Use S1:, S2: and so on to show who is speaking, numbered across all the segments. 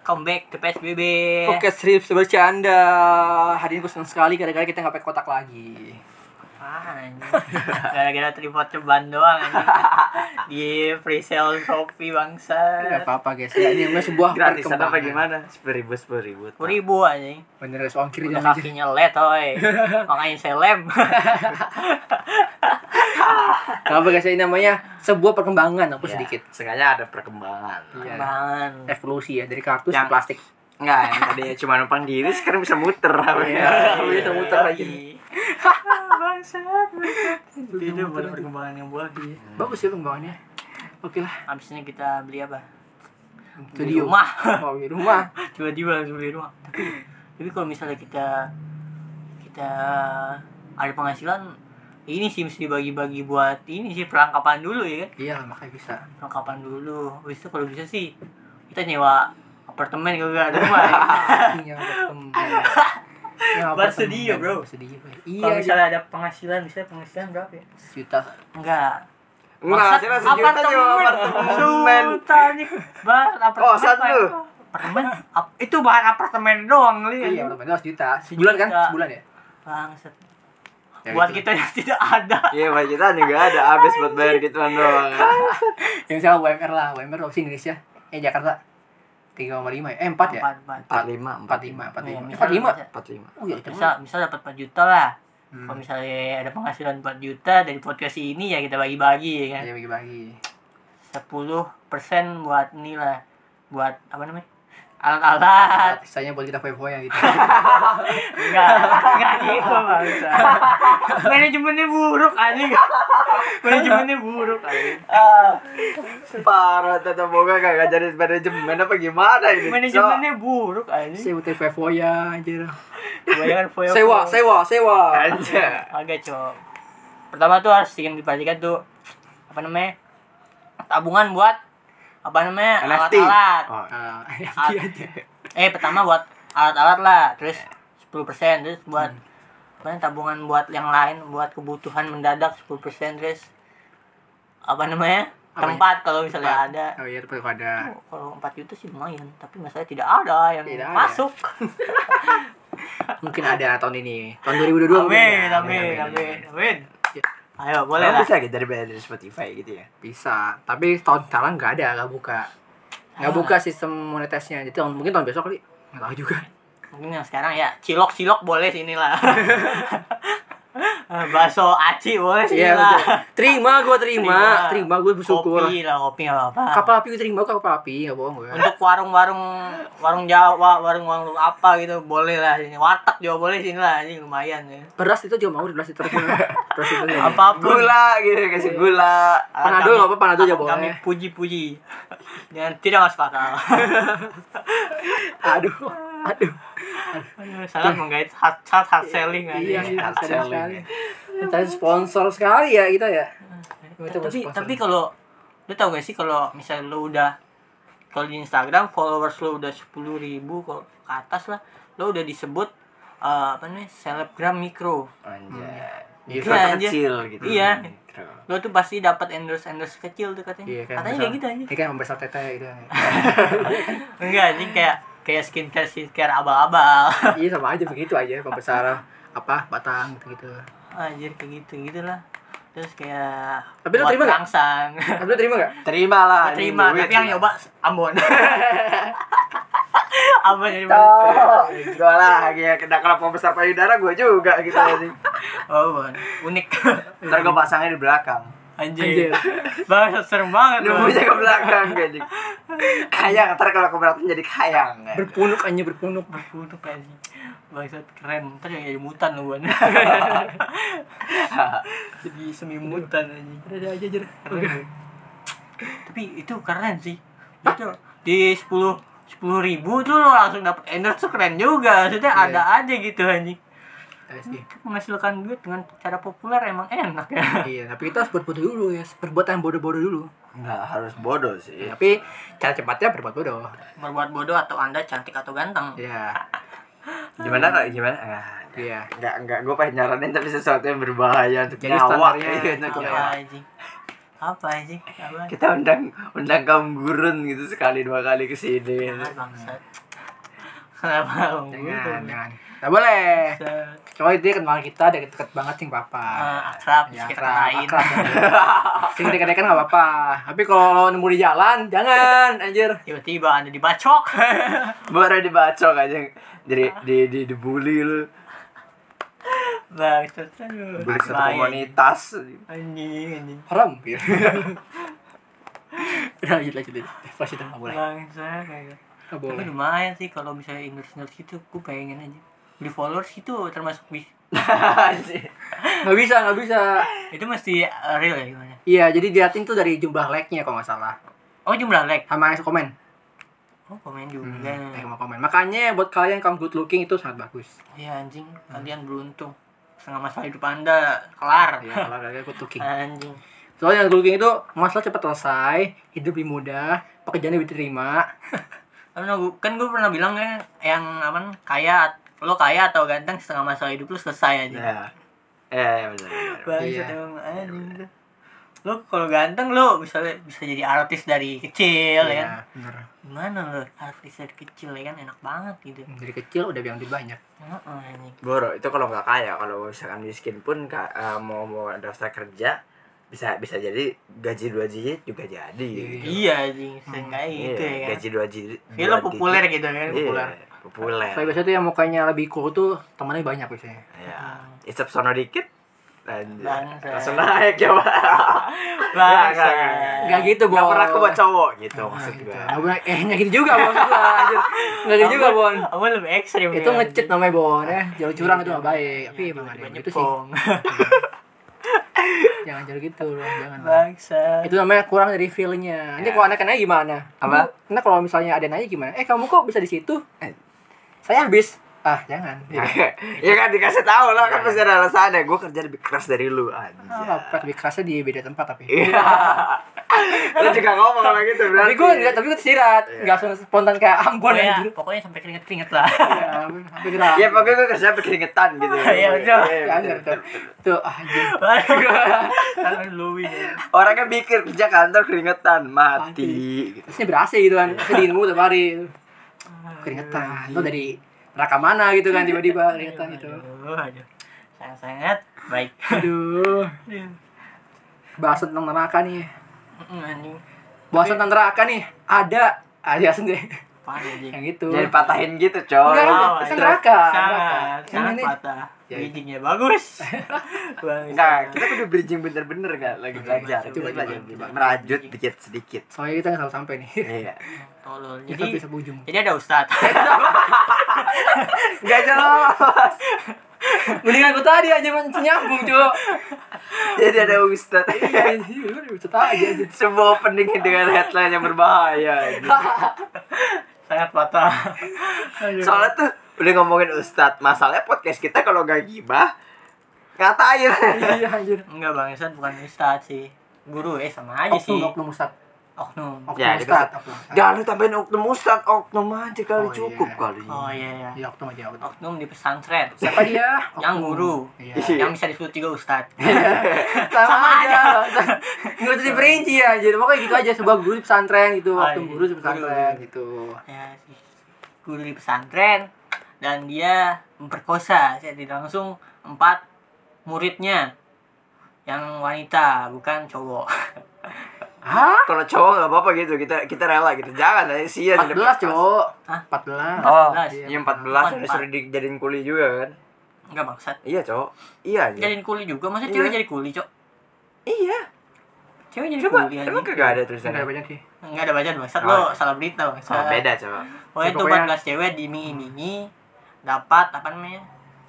S1: comeback ke PSBB.
S2: Oke, strip bercanda. Hari ini gue seneng sekali gara-gara kita nggak pakai kotak lagi.
S1: Apaan? Ah, Gara-gara tripod ceban doang anjing. Di pre-sale Shopee
S2: Gak
S1: bangsa.
S2: apa-apa ya. guys, ya, ini memang sebuah
S3: Gratisan apa
S2: perkembangan.
S3: gimana? Sepuluh ribu, sepuluh ribu.
S1: Ribu anjing.
S2: Bener guys, ongkir
S1: Udah
S2: jangan aja.
S1: kakinya let oi. Makanya seleb.
S2: Gak apa guys, ini namanya sebuah perkembangan aku
S3: Ya,
S2: sedikit.
S3: Seenggaknya ada perkembangan.
S2: Iya.
S1: Bangan.
S2: Evolusi ya dari kartus
S3: Yang-
S2: ke plastik.
S3: Enggak, yang tadinya cuma numpang diri sekarang bisa muter.
S2: Iya, bisa muter lagi.
S1: Bangsat. iya. Itu
S2: muter
S1: baru
S2: lagi.
S1: perkembangan yang bagus.
S2: Bagus ya perkembangannya. Oke lah,
S1: Abis ini kita beli apa? Beli
S2: studio.
S1: rumah.
S2: Mau Oh, di rumah.
S1: Tiba-tiba langsung beli rumah. Tapi, tapi kalau misalnya kita kita ada penghasilan ini sih mesti dibagi-bagi buat ini sih perlengkapan dulu ya kan
S2: Iya, makanya bisa.
S1: perlengkapan dulu habis itu kalau bisa sih kita nyewa apartemen kalau nggak ada rumah ya.
S2: Iya,
S1: Bar studio, bro.
S2: Studio. bro.
S1: kalau
S2: Iya,
S1: misalnya ada penghasilan misalnya penghasilan berapa ya
S2: juta.
S1: enggak
S3: Enggak, saya rasa juta juga apartemen.
S1: Sultanik bahan apartemen.
S3: Kosan
S1: apa ya?
S3: lu.
S1: Apartemen. ap- itu bahan apartemen doang, Li.
S2: Iya, berapa? Dua juta. Sebulan kan?
S1: Sejuta.
S2: Sebulan ya?
S1: Bangset.
S2: Ya,
S1: Buat
S2: gitu.
S1: kita yang tidak ada.
S3: Iya, Pak kita juga ada habis buat bayar gituan doang.
S2: Ya misalnya UMR lah, UMR berapa sih Indonesia? Eh Jakarta. 3,5 ya? Eh 4 ya?
S1: Empat, empat.
S2: 45, 45.
S3: 45,
S1: Iya,
S2: 45.
S1: misalnya-
S3: 45.
S2: Oh iya,
S1: Misal,
S2: cepet.
S1: misal dapat 4 juta lah.
S2: Hmm.
S1: Kalau misalnya ada penghasilan 4 juta dari podcast ini ya kita bagi-bagi ya kan.
S2: Iya bagi-bagi.
S1: 10% buat ini lah. Buat apa namanya? Alat-alat.
S2: Sisanya buat kita foya-foya gitu.
S1: Enggak, enggak gitu bangsa. Manajemennya buruk anjing. Manajemennya buruk anjing.
S2: Ah,
S3: Parah, tata boga kagak jadi manajemen apa gimana ini? Cok?
S1: Manajemennya buruk anjing.
S2: Saya butuh foya-foya anjir.
S1: Kebanyakan foya.
S2: Sewa, sewa, sewa.
S3: aja.
S1: Agak cok. Pertama tuh harus yang diperhatikan tuh apa namanya? Tabungan buat apa namanya?
S3: NFT.
S1: Alat-alat.
S3: Oh.
S2: Ah,
S1: Ah.
S2: iya aja.
S1: Eh, pertama buat alat-alat lah, terus 10% terus buat
S2: Hmm.
S1: apa namanya, tabungan buat yang lain buat kebutuhan mendadak 10% terus apa namanya?
S2: Apa ya?
S1: tempat kalau misalnya ada
S2: Oh iya, tapi pada
S1: kalau 4 juta sih lumayan tapi masalahnya tidak ada yang
S2: Tidak ada.
S1: masuk
S2: mungkin ada tahun ini. Tahun 2022 mungkin
S1: amin,
S2: ada.
S1: amin amin amin
S2: Ya.
S1: ayo boleh
S3: Boleh
S1: lah
S3: bisa gitu dari bayar dari Spotify gitu ya.
S2: Bisa, tapi tahun sekarang nggak ada, nggak buka. Nggak
S1: Ah.
S2: buka sistem monetisnya. Jadi tahun, mungkin tahun besok kali. Nggak tahu juga.
S1: mungkin yang sekarang ya cilok cilok boleh sini lah bakso aci boleh sini
S2: Iya,
S1: lah
S2: betul. Terima, gue terima. Terima, gue bersyukur.
S1: kopi lah kopi nggak apa-apa
S2: Kapal api gue terima, gue kapal api. Nggak bohong gue.
S1: untuk warung-warung warung Jawa, warung-warung apa gitu boleh lah sini. Warteg juga boleh sini lah, ini lumayan ya.
S2: Beras itu juga mau, beras itu. Beras itu.
S1: Apapun
S3: Gula gitu kasih gula.
S2: Panado nggak apa, panado aja
S1: akan kami
S2: boleh.
S1: puji-puji dengan tidak masuk akal
S2: Aduh, aduh.
S1: Aduh, sangat menggait hard hard, hard selling
S2: Iya,
S1: aja
S2: iya,
S3: hard
S2: serius
S3: selling
S2: sekali. Tadi sponsor sekali ya kita ya. Kita
S1: tapi
S2: sponsor.
S1: tapi kalau lu tau gak sih kalau misalnya lu udah kalau di Instagram followers lu udah sepuluh ribu ke atas lah lu udah disebut eh, apa nih selebgram mikro
S3: Anjay.
S2: Iya,
S3: Mikro
S1: Hmm, anjay.
S3: kecil gitu.
S1: Iya.
S3: Mikro.
S1: lu tuh pasti dapat endorse endorse kecil tuh katanya
S2: Iya, kayak
S1: katanya
S2: membesar-
S1: kayak gitu aja
S2: Iya, kayak membesar tete gitu.
S1: enggak anjing kayak kayak skincare skincare abal-abal
S2: Iya, sama aja begitu aja pembesar apa batang gitu.
S1: anjir kayak gitu gitulah terus kayak
S2: Tapi lu
S1: buat
S2: terima nggak? Ah,
S1: rangsang
S2: Tapi lu terima nggak?
S3: Terima lah.
S1: Gua terima
S3: ini duit
S1: tapi yang
S3: lah.
S1: nyoba Ambon Ambon jadi
S3: Oh, gue lah ya kena kalau mau besar payudara gue juga gitu aja.
S1: Oh, Ambon unik
S3: Ntar gue pasangnya di belakang.
S1: anjir,
S2: Anjir.
S1: banget serem banget Bang.
S3: Nemunya ke belakang gaji. Kayang ntar kalau keberatan jadi kayang.
S2: Berpunuk aja berpunuk.
S1: Berkudu kayaknya Bangsat keren Ntar yang jadi mutan lu Wan. Jadi semi mutan aja
S2: Ada aja aja.
S1: Tapi itu keren sih Itu di 10 sepuluh ribu tuh lo langsung dapet endorse tuh keren juga maksudnya
S2: Iya.
S1: ada aja gitu anjing menghasilkan duit dengan cara populer emang enak ya
S2: Iya, tapi kita harus buat bodoh dulu ya. Berbuat yang bodoh-bodoh dulu.
S3: Nggak harus bodoh sih.
S2: Tapi cara cepatnya berbuat bodoh.
S1: berbuat bodoh atau anda cantik atau ganteng
S2: Iya.
S3: Gimana kalau gimana? Ah,
S2: Iya.
S3: Enggak, enggak, gue pengen nyaranin tapi sesuatu yang berbahaya untuk
S2: Jadi
S3: nyawa
S2: standarnya-
S3: Iya, untuk
S1: Apa
S3: nyawa.
S1: anjing? apa sih apa
S3: Kita undang undang kaum gurun gitu sekali dua kali ke sini.
S1: Ah, bangsat kenapa kamu
S2: jangan jangan nggak boleh Coba dia kenal kita dari deket banget sih nggak apa-apa.
S1: Eh, akrab,
S2: ya,
S1: kita
S2: akrab,
S1: kenalin.
S2: akrab. Sing deket-deketan nggak apa-apa. Tapi kalau nemu di jalan jangan anjir.
S1: tiba-tiba anda dibacok
S3: Baru dibacok aja. Jadi di di dibully lu.
S1: bangsat aduh
S3: Bully satu
S1: Bahaya.
S3: komunitas.
S1: anjing anjing
S2: Haram gitu. Udah lanjut lanjut lanjut. Flash itu nggak boleh.
S1: bangsat kayak gitu.
S2: Nggak
S1: Tapi
S2: boleh.
S1: lumayan sih kalau misalnya Inggris Nerds gitu, gue pengen aja beli followers itu termasuk bis
S2: Nggak bisa nggak bisa.
S1: itu mesti uh, real ya gimana?
S2: Iya jadi diliatin tuh dari jumlah like-nya kalau nggak salah.
S1: Oh jumlah like,
S2: Sama komen.
S1: oh komen juga.
S2: Hmm, like sama komen. Makanya buat kalian kaum good looking itu sangat bagus.
S1: Iya anjing, kalian beruntung. Setengah masalah hidup anda kelar.
S2: Ya kalau kalian good looking.
S1: Anjing.
S2: Soalnya good looking itu masalah cepat selesai, hidup lebih mudah, pekerjaan lebih diterima.
S1: Tapi no, gua- kan gue pernah bilang kan yang apa kaya lo kaya atau ganteng setengah masalah hidup lo selesai aja.
S3: Ya. Ya, ya benar. benar.
S1: Bangsat
S2: Iya.
S1: emang anjing tuh. Lo kalau ganteng lo misalnya bisa jadi artis dari kecil ya. kan.
S2: Iya, bener.
S1: Gimana lo artis dari kecil ya kan enak banget gitu.
S2: dari kecil udah bilang duit banyak
S1: Heeh, anjing.
S3: Boro itu kalau nggak kaya, kalau misalkan miskin pun ka- eh, mau mau daftar kerja bisa bisa jadi gaji dua digit juga jadi. gitu.
S1: Iya anjing, seenggaknya gitu ya kan.
S3: Gaji dua digit.
S1: Jadi
S3: dua
S1: lo
S3: digit.
S1: populer gitu kan,
S3: Iya,
S1: populer.
S3: Populer.
S2: saya biasanya tuh yang mukanya lebih cool tuh temannya banyak biasanya
S3: Ya. Isep sono dikit. anjir.
S1: Bangsat.
S3: Langsung naik ya, Pak. Nggak, nggak,
S1: Bangsat.
S3: nggak.
S2: Nggak gitu,
S3: Nggak
S2: Bor.
S3: pernah aku buat cowok gitu maksud
S2: gitu.
S3: gua.
S2: Nggak boleh- eh nggak gitu juga bon nggak gitu juga bon
S1: Aku lebih ekstrim. Iya,
S2: itu ngecit namanya bon ya
S3: Iya,
S2: jauh curang itu nggak baik tapi emang ada yang gitu sih jangan jauh gitu loh jangan lah.
S1: Bangsa.
S2: itu namanya kurang dari feelnya
S3: Ya.
S2: nanti kalau anak-anaknya gimana
S3: Apa?
S2: Bu, nah kalau misalnya ada yang nanya gimana eh kamu kok bisa di situ
S3: Eh.
S2: saya habis ah jangan
S3: ya kan dikasih tahu lah kan pasti ada alasannya gue kerja lebih keras dari lu aja
S2: Ah, lebih kerasnya di beda tempat tapi
S3: Iya. Lu juga ngomong sama gitu
S2: tapi
S3: berarti.
S2: gue tapi gue tersirat
S3: Iya.
S2: nggak langsung spontan kayak Ambon
S1: Pokoknya,
S2: anjir.
S1: pokoknya sampai keringet-keringet lah.
S2: Ya, hampir lah.
S3: Ya pokoknya gue kerja keringetan gitu.
S1: Iya, betul.
S2: Ya, anjir, tuh. Tuh, anjing.
S1: Tangan Louis. ya.
S3: Orangnya mikir kerja kantor keringetan mati. gitu.
S2: Terusnya berasa gitu kan.
S1: Iya.
S2: Terus dingin mulu tiap hari. Keringetan. Tuh dari neraka mana gitu kan tiba-tiba keringetan gitu.
S1: Iya, Aduh, aduh. Sangat-sangat baik. Mm,
S2: Aduh.
S1: Aduh.
S2: Bahasa tentang neraka nih.
S1: Mm, Anjing.
S2: Bahasa tentang neraka nih. Ada alias deh.
S1: Apaan anjing?
S2: Yang itu.
S3: Jadi patahin gitu coy.
S2: Enggak,
S1: Wow,
S2: pesan
S1: anjing.
S2: neraka,
S1: Sangat,
S2: neraka.
S1: sangat
S2: Ini-
S1: patah.
S2: Ya, itu.
S1: Bijinya bagus. Bangsa.
S3: Enggak, kita kudu bridging bener-bener enggak lagi belajar.
S1: coba,
S3: Kita
S2: coba,
S3: belajar
S2: coba.
S3: bridging. merajut dikit-sedikit.
S2: Soalnya kita nggak tahu sampai nih.
S3: Iya.
S1: Tolol.
S2: Kita
S1: Jadi Iya.
S2: bisa ujung.
S1: jadi ada ustadz.
S3: Enggak jelas.
S2: Mendingan gue tadi aja men- nyambung, Cuk.
S3: Jadi ada Ustaz.
S2: Iya, anjing. Lu udah bisa tahu aja. Iya, anjing.
S3: Sebuah opening dengan headline yang berbahaya. gitu.
S1: sangat patah. Aduh.
S3: Soalnya tuh udah ngomongin Ustadz, masalahnya podcast kita kalau gak gibah ngatain. Ya,
S2: Iya, anjir.
S1: Enggak bang Isan bukan ustad sih guru eh sama aja sih
S2: Oknum, oknum Ustaz.
S1: oknum
S2: Oknum
S3: Ya,
S2: Ustaz.
S3: dikasih-
S2: oknum Ustaz.
S3: Jangan lu tambahin oknum Ustadz, oknum aja kali
S2: Oh,
S3: cukup
S2: iya.
S3: kali.
S1: oh iya iya
S2: Iya, oknum aja, oknum.
S1: oknum di pesantren
S2: Siapa dia?
S1: yang
S2: Oknum.
S1: guru
S2: Iya.
S3: Iya.
S1: yang bisa disebut juga ustad
S2: Sama, aja. Enggak usah diperinci ya. Jadi pokoknya gitu aja sebuah guru di pesantren gitu,
S1: Ah,
S2: oknum
S1: iya.
S2: guru di pesantren gitu.
S1: ya sih guru di pesantren dan dia memperkosa jadi langsung empat muridnya yang wanita bukan cowok
S2: Hah?
S3: Kalau cowok gak apa-apa gitu, kita kita rela gitu. Jangan aja sih ya.
S2: 14, Cok.
S1: Hah?
S2: 14.
S3: Oh,
S1: 14.
S3: iya 14 udah suruh dijadiin kuli juga kan?
S1: enggak maksud
S3: Iya, cowok. Iya, iya.
S1: jadiin kuli juga masa
S3: Iya.
S1: cewek jadi kuli cok
S3: Iya.
S1: cewek jadi
S3: Coba,
S1: kuli
S3: emang
S1: aja
S3: kagak ada
S2: Ada
S3: tulisannya?
S2: banyak sih.
S1: enggak ada bacaan maksud
S3: Oh.
S1: lo salah berita bang
S3: Sama beda, cowok.
S1: Pokoknya
S2: Ya,
S1: itu
S2: pokoknya-
S1: 14 cewek diiming-imingi dapat apa namanya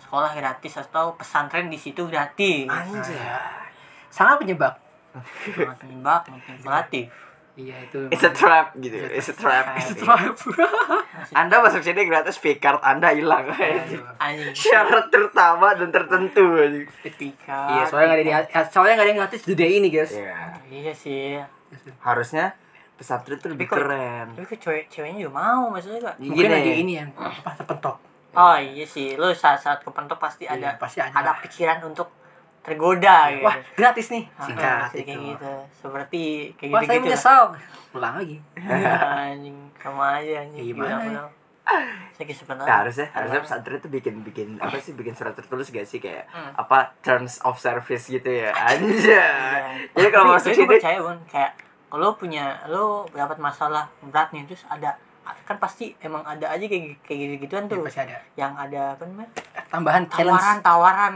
S1: sekolah gratis atau pesantren di situ gratis.
S3: Anjay.
S2: Sangat penyebab.
S1: Sangat menyebab, manipulatif.
S2: Iya, itu.
S3: It's a trap gitu. It's a trap.
S1: It's
S3: Anda masuk sini gratis, fee card Anda hilang.
S1: Anjing.
S3: Syarat terutama dan tertentu.
S1: Ketika.
S2: Iya, soalnya nggak ada yang soalnya nggak ada yang gratis di day ini, guys.
S3: Iya.
S1: Iya sih.
S3: Harusnya pesantren tuh lebih
S1: Tapi kok-
S3: keren.
S1: Tapi kok cewek ceweknya juga mau maksudnya gak?
S2: Mungkin
S3: Gini.
S2: lagi ini yang apa terpentok.
S1: Oh iya sih, lu saat saat kepentok pasti ada
S2: Iya, pasti ada.
S1: ada pikiran untuk tergoda gitu.
S2: Wah, gratis nih.
S1: Ah,
S2: Singkat
S1: seperti kayak
S2: itu.
S1: gitu. Seperti kayak
S2: Wah, saya
S1: gitu-gitu. lah.
S2: menyesal. Pulang lagi.
S1: anjing sama aja anjing.
S2: Ya, gimana ya?
S1: Gila, Saya kesepen
S3: Nah, harusnya harusnya pesantren tuh bikin bikin apa sih bikin surat tertulis gak sih kayak
S1: Hmm.
S3: apa terms of service gitu
S2: Iya.
S3: ya anjay jadi kalau masuk
S1: Iya. sih
S3: sini
S1: percaya bun kayak kalau punya lo dapat masalah berat nih terus ada kan pasti emang ada aja kayak kayak gitu gituan
S2: Ya,
S1: tuh
S2: pasti ada
S1: yang ada apa namanya
S2: tambahan
S1: tawaran
S2: challenge.
S1: tawaran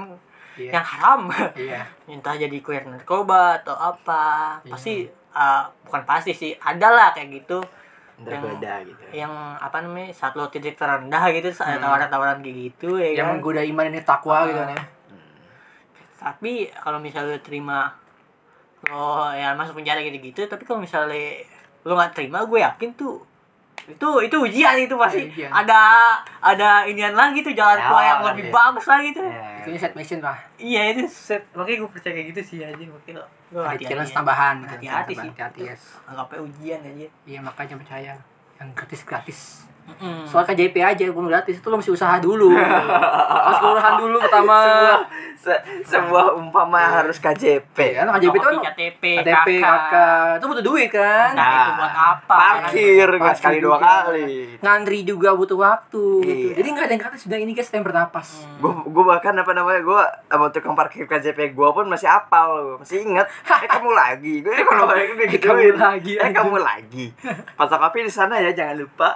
S2: Iya.
S1: yang haram
S2: Iya.
S1: entah jadi kurir narkoba atau apa
S2: Iya.
S1: pasti ah, bukan pasti sih ada lah kayak gitu
S3: tergoda gitu
S1: yang apa namanya saat lo titik terendah gitu terus ada tawaran-tawaran kayak gitu ya
S2: Hmm. Yang
S1: kan
S2: menggoda iman ini takwa gitu
S1: Ah.
S2: kan ya.
S1: tapi kalau misalnya lo terima lo ya masuk penjara gitu-gitu tapi kalau misalnya lo nggak terima gue yakin tuh itu itu ujian Ya, itu pasti
S2: Iya, ujian.
S1: ada ada inian lagi tuh jalan keluar yang
S3: Jalan,
S1: lebih
S3: iya.
S1: bagus lagi tuh
S3: Ya.
S2: Itu set mission lah.
S1: iya itu set makanya gue percaya kayak gitu sih aja makanya lo lo ya.
S2: Ada challenge
S1: aja.
S2: tambahan. gitu.
S1: Hati-hati sih.
S2: Hati-hati yes.
S1: anggapnya ujian aja
S2: Iya makanya percaya. Yang gratis gratis.
S1: Mm-mm.
S2: Soalnya KJP aja belum gratis itu lo mesti usaha dulu. Harus kelurahan dulu pertama.
S3: Se- sebuah umpama harus KJP
S2: Ya kan KJP itu kan
S1: Kopi, KTP,
S2: KTP, KK. Itu butuh duit kan?
S1: Nah, itu buat apa?
S3: parkir nggak
S2: Parkir
S3: sekali dua
S2: juga.
S3: kali
S2: Ngantri juga butuh waktu gitu.
S3: Iya.
S2: Jadi nggak ada yang gratis sudah ini guys yang bernapas.
S3: gue gue bahkan apa namanya gue sama tukang parkir KJP gue pun masih apal gue masih inget eh kamu lagi gue kalau balik udah
S2: Eh,
S3: gituin
S2: kamu lagi,
S3: eh
S2: anjing.
S3: kamu lagi pasar kopi di sana ya jangan lupa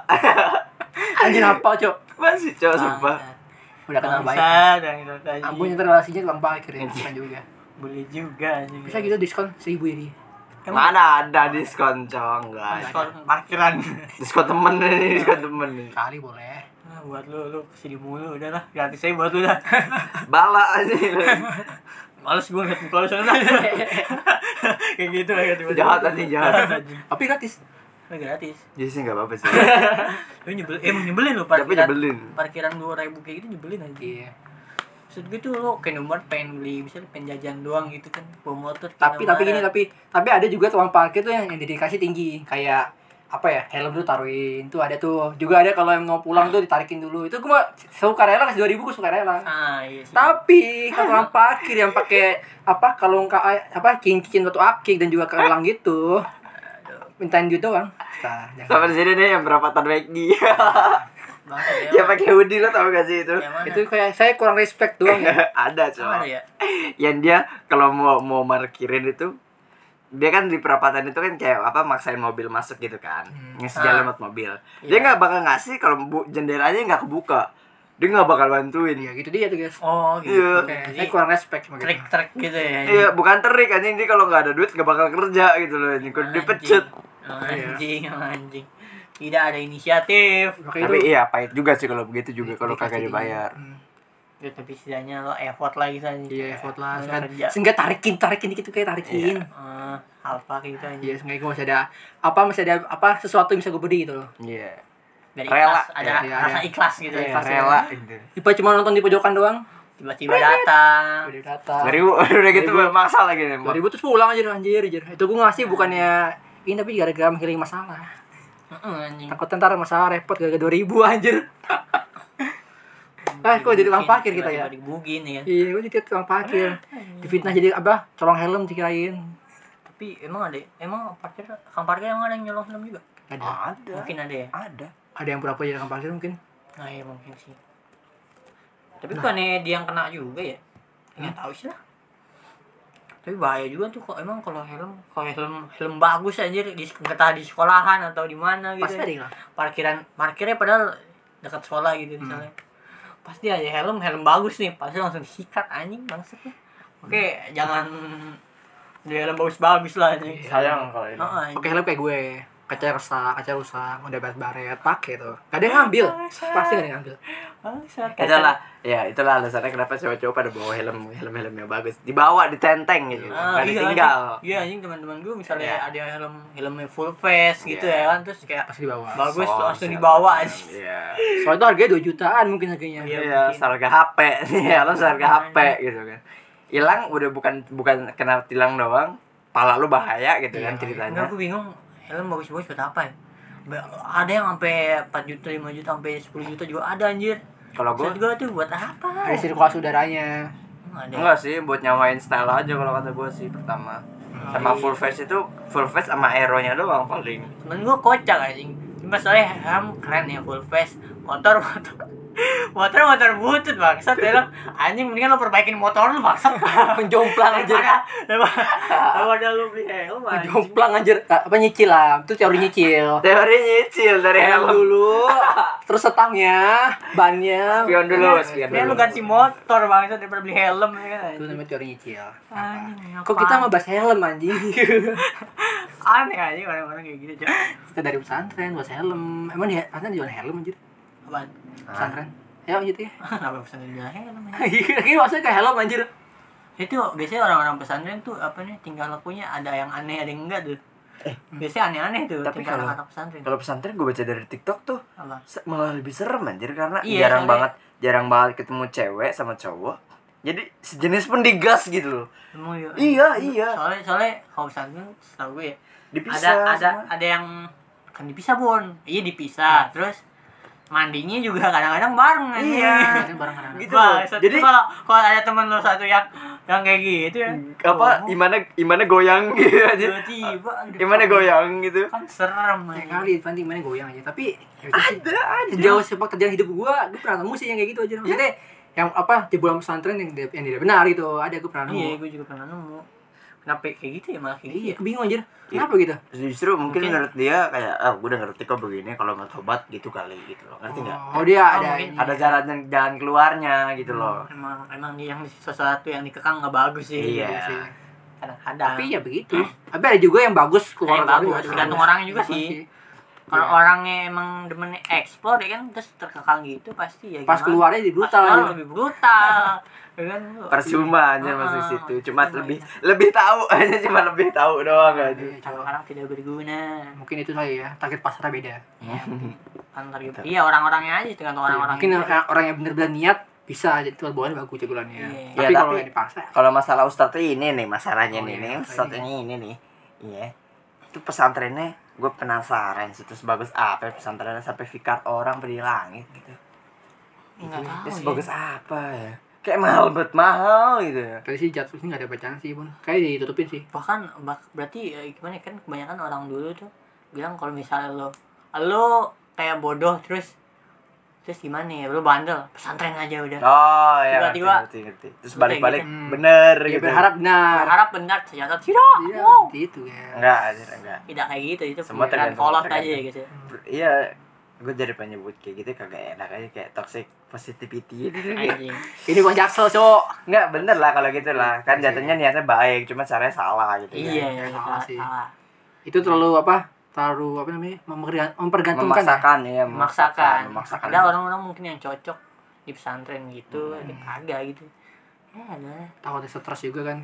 S2: Anjir apa, Cok?
S3: masih cowok
S2: Nah,
S3: sumpah
S2: Udah kenal baik.
S1: Nah, dan
S2: Ampun yang terrelasinya tukang parkir ya, bukan juga.
S1: boleh juga anjing.
S2: Bisa gitu diskon seribu ini.
S1: Emang
S3: mana ada diskon cowok nggak
S2: Nah,
S3: ada.
S1: diskon parkiran.
S3: diskon temen nih diskon temen nih
S2: Kali boleh.
S1: Ah, buat lu lu kesini mulu udah lah gratis aja buat lu dah.
S3: bala aja lu.
S1: Males gue ngeliat muka lu sana. Kayak gitu lah gitu.
S3: jahat aja jahat
S2: Tapi gratis.
S1: Lu gratis.
S3: jadi sih nggak apa-apa sih
S1: Lu nyebelin, eh, emang nyebelin lu
S3: tapi
S1: parkiran.
S3: nyebelin
S1: Parkiran dua ribu kayak gitu nyebelin aja.
S2: Iya.
S1: Maksud gue tuh lu kayak nomor pengen beli misalnya pengen jajan doang gitu kan bawa motor.
S2: Tapi tapi gini
S1: ini
S2: tapi tapi ada juga tukang parkir tuh yang, yang dedikasi tinggi kayak apa ya helm tuh taruhin tuh ada tuh juga ada kalau yang mau pulang tuh ditarikin dulu itu gue suka rela kasih dua ribu gue suka rela
S1: Ah iya sih.
S2: Tapi kalau orang parkir yang pakai apa kalung ka, apa kincin batu akik dan juga kelang gitu. Mintain duit doang. Nah, jangan.
S3: sama di sini nih yang berapatan Maggie
S1: Bangsat,
S2: Iya,
S3: ya pakai hoodie lo tau gak sih itu
S1: Yang mana?
S2: Itu kayak saya kurang respect doang ya.
S3: ada
S1: Yang mana
S3: cowok
S1: ya?
S3: yang dia kalau mau mau markirin itu dia kan di perapatan itu kan kayak apa maksain mobil masuk gitu kan ngasih jalan buat mobil dia
S1: Iya.
S3: nggak bakal ngasih kalau bu, jendelanya nggak kebuka dia nggak bakal bantuin
S2: Ya gitu dia tuh guys.
S1: Oh gitu.
S3: Iya.
S2: Oke,
S1: Jadi
S2: saya kurang respect sama gitu.
S1: trik-trik gitu ya.
S3: iya bukan terik anjing dia kalau nggak ada duit nggak bakal kerja gitu loh anjing kudu dipecut
S1: Anjing, anjing, anjing. Tidak ada inisiatif.
S2: Makanya
S3: tapi
S2: itu
S3: iya pahit juga sih kalau begitu juga kalau
S2: dikasih
S3: kagak
S2: dingin.
S3: dibayar
S2: Hmm.
S1: Ya, tapi setidaknya lo effort lagi kan.
S2: Iya, effort lah.
S1: Lo
S2: Kan
S1: kerja.
S2: sehingga tarikin, tarikin dikit tuh kayak tarikin.
S1: Eh, apa kayak gitu anjing.
S2: Iya, seenggaknya gue masih ada apa masih ada apa sesuatu yang bisa gue beri gitu loh.
S3: iya
S1: Dari
S3: Rela.
S1: ikhlas, ada
S2: Iya,
S1: rasa
S2: iya.
S1: ikhlas gitu.
S2: Iya,
S1: ikhlas.
S3: rela gitu
S2: Tiba cuma nonton di pojokan doang.
S1: Tiba-tiba datang.
S2: Udah datang.
S3: dari udah gitu maksa lagi nih
S2: dua ribu terus pulang aja anjir anjir itu gue ngasih bukannya ini tapi gara-gara menghilang masalah
S1: Heeh, anjing.
S2: takut ntar masalah repot gara-gara dua ribu anjir eh kok jadi tukang
S1: Mungkin
S2: parkir kita ya
S1: tiba-tiba dibugin ya kan.
S2: iya gue jadi tukang parkir difitnah jadi apa colong helm dikirain
S1: Tapi emang ada emang parkir kang parkir emang ada yang nyolong film juga.
S2: ada
S3: ada
S1: Mungkin ada ya.
S3: ada
S2: ada yang pura-pura jadi tukang parkir mungkin
S1: Nah, iya mungkin sih.
S2: Nah.
S1: Tapi bukannya dia yang kena juga ya? Enggak tahu sih lah. Tapi bahaya juga tuh kok emang kalau helm, kalau helm helm bagus anjir di entah di sekolahan atau di mana gitu.
S2: pasti ada yang
S1: Parkiran parkirnya padahal dekat sekolah gitu
S3: Hmm.
S1: misalnya. Pasti aja helm helm bagus nih, pasti langsung sikat anjing bangsat nih. Oke,
S3: Hmm.
S1: jangan di helm bagus-bagus lah anjing.
S3: sayang kalau ini
S1: Oh, anjing.
S2: pakai helm kayak gue kaca rusak kaca rusak udah baret-baret pakai tuh gak ada yang ngambil pasti gak ada yang ngambil
S1: Bangsat. Ah,
S3: Kaca lah. Ya, itulah alasannya kenapa cowok-cowok pada bawa helm helm-helm yang bagus. Dibawa ditenteng gitu.
S1: Ah,
S3: Enggak
S1: iya,
S3: ditinggal.
S1: anjing. Iya anjing teman-teman gue misalnya
S3: Iya.
S1: ada yang helm helmnya full face gitu
S3: Iya.
S1: ya kan terus kayak
S2: pasti dibawa
S1: bagus
S3: Soal
S1: langsung
S3: misalnya.
S1: dibawa aja.
S3: Oh, Iya.
S2: soalnya itu harganya 2 jutaan mungkin harganya
S1: Iya.
S3: Iya,
S1: mungkin.
S3: seharga HP. Iya, lo seharga
S1: Makanya.
S3: HP gitu kan. Hilang udah bukan bukan kena tilang doang, pala lu bahaya gitu kan ceritanya.
S1: Iya, Enggak gue bingung helm bagus-bagus buat apa ya? Ba- Ada yang sampai 4 juta, 5 juta, sampai 10 juta juga ada anjir.
S3: Kalau
S1: Maksud
S3: gue
S1: gue tuh buat apa?
S2: ada sirkulasi udaranya
S1: nggak ada
S3: Enggak sih, buat nyamain style aja kalau kata gue sih pertama.
S1: Hmm.
S3: Sama
S1: Iya.
S3: full face itu full face sama aeronya doang paling.
S1: temen gue kocak anjing cuma soalnya ham keren ya full face motor motor motor motor butut bangsat dia bilang anjing mendingan lo perbaikin motor lu bangsat
S2: penjomplang anjir
S1: daripada daripada daripada lu beli helm anjing
S2: penjomplang anjir Ah, apa nyicil lah itu teori nyicil
S3: Teori nyicil dari
S2: helm
S3: helm.
S2: dulu terus setangnya bannya
S3: Spion dulu, spion
S1: Mendingan
S3: dulu.
S1: lu ganti motor bangsat daripada beli helm ya kan
S2: itu namanya teori nyicil
S1: Anjing,
S2: Apa? kok kita mau bahas helm anjing
S1: aneh anjing orang-orang kayak gitu coy
S2: kita dari pesantren bahas helm emang ya pesantren jualan helm anjir
S1: apaan
S2: pesantren ya lanjut ya
S1: kenapa pesantren jualan helm anjing?
S2: ini maksudnya kayak helm anjir
S1: itu biasanya orang-orang pesantren tuh apa nih tingkah lakunya ada yang aneh ada yang enggak tuh biasanya aneh-aneh tuh
S3: Eh. Tapi
S1: tingkah
S3: kalau-
S1: laku anak pesantren
S3: Kalau pesantren gue baca dari TikTok tuh
S1: apa
S3: se- malah lebih serem anjir karena
S1: Iya,
S3: jarang
S1: soalnya-
S3: banget jarang banget ketemu cewek sama cowok. Jadi sejenis pun digas gitu loh.
S1: Emang iya.
S3: Iya, iya.
S1: Soalnya soalnya kalau pesantren setahu gue ya, ada
S3: Dipisah.
S1: ada
S3: semua.
S1: ada yang kan dipisah bon. Iya dipisah. Terus mandinya juga kadang-kadang bareng aja.
S3: Iya.
S2: Kemarin bareng-bareng.
S3: Gitu
S1: Wah,
S3: loh.
S1: Jadi
S3: Jadi-
S1: kalau kalau ada teman lo satu yang yang kayak gitu ya.
S3: apa
S1: ngomong,
S3: gimana gimana goyang gitu anjir.
S1: Tiba-tiba iya, aduh,
S3: Gimana goyang gitu.
S1: Kan serem
S2: Kayak
S1: aja.
S2: kali Fanti main goyang aja tapi ya udah sih.
S3: Ada ada.
S2: sejauh sepak terjang hidup gua gua pernah nemu sih yang kayak gitu aja
S1: Iya.
S2: maksudnya yang apa jebolan pesantren yang di- yang tidak benar gitu ada gua pernah
S1: Iya,
S2: nemu
S1: gue juga pernah nemu. Kenapa kayak gitu ya malah kayak gitu
S2: iya
S1: ya?
S2: gua bingung anjir kenapa gitu
S3: Justru mungkin,
S1: Mungkin-
S3: menurut dia kayak ah gue udah ngerti kok begini kalau mau tobat gitu kali gitu loh. Ngerti nggak?
S2: oh dia
S1: Oh,
S2: ada
S1: mungkin.
S2: ini.
S3: Ada jalan dan jalan keluarnya gitu loh.
S1: Emang emang yang sesuatu yang dikekang nggak bagus sih.
S3: Iya.
S2: sih.
S1: Kadang-kadang.
S2: tapi ya begitu tapi ada juga yang bagus keluar
S1: Ada Hmm. yang
S2: dari-
S1: bagus,
S2: dari-
S1: tergantung orangnya juga
S2: Bagus
S1: sih. kalau
S2: Iya.
S1: orangnya emang demen explore ya kan terus terkekang gitu pasti ya
S2: pas
S1: gimana?
S2: keluarnya jadi brutal
S1: Pas
S2: gitu.
S1: keluar
S2: anjir.
S1: lebih brutal ya kan
S3: Percuma aja masuk
S1: Ah,
S3: situ. Cuma
S1: percuma
S3: lebih
S1: itu.
S3: lebih tahu aja cuma lebih tahu doang aja.
S2: Iya, coba.
S1: orang tidak berguna
S2: mungkin itu kali ya target pasarnya beda
S1: ya antar gitu
S3: Iya. Betul.
S1: iya orang-orangnya aja tergantung orang-orang
S2: Iya, mungkin
S1: gitu.
S2: orang, orang yang benar-benar niat bisa jadi tuan bawaan bagus jebolannya
S1: Iya.
S2: tapi
S3: Iya,
S2: kalau
S3: tapi-
S2: yang dipaksa
S3: Kalau masalah ustadz ini nih masalahnya
S2: Oh,
S3: nih,
S2: iya,
S3: nih
S2: iya.
S3: ustadz ini ini nih. Iya. Itu pesantrennya gue penasaran sih terus bagus apa ya pesantrennya sampai fikar orang pergi langit gitu.
S1: nggak tahu
S3: Terus
S1: ya.
S3: bagus apa ya? Kayak mahal banget mahal gitu ya.
S2: tadi sih jatuh sih nggak ada bacaan sih bun kayak ditutupin sih
S1: bahkan bak- berarti ya, gimana ya, kan kebanyakan orang dulu tuh bilang kalau misalnya lo lo kayak bodoh terus terus gimana ya lo bandel pesantren aja udah
S3: Oh ya ngerti,
S1: Tiba-tiba-
S3: ngerti, ngerti. Terus
S1: Oke,
S3: balik-balik
S2: gitu.
S3: bener
S2: ya
S3: gitu.
S2: berharap benar
S1: harap benar ternyata tidak
S2: Iya,
S1: Oh. Wow.
S2: seperti itu ya.
S3: Enggak, anjir, enggak.
S1: tidak kayak gitu itu
S3: Semua
S1: pemikiran
S3: tergantung-
S1: kolot aja
S3: tergantung.
S1: gitu
S3: Ber- Iya, gue jadi penyebut kayak gitu kagak enak aja kayak toxic positivity.
S1: anjing
S2: Ini bukan jaksel, Cok.
S3: Enggak bener lah kalau gitu lah. Kan jatuhnya niatnya baik, cuma caranya salah gitu. kan.
S1: iya
S2: Kayak
S1: salah
S2: salah sih.
S1: salah
S2: Itu terlalu apa? Terlalu apa namanya? mempergan- Mempergantungkan. ya?
S3: Memaksakan ya,
S1: memaksakan
S3: memaksakan.
S1: ada orang-orang mungkin yang cocok di pesantren gitu ada yang kagak gitu ya ada
S2: Takut ada stres juga kan.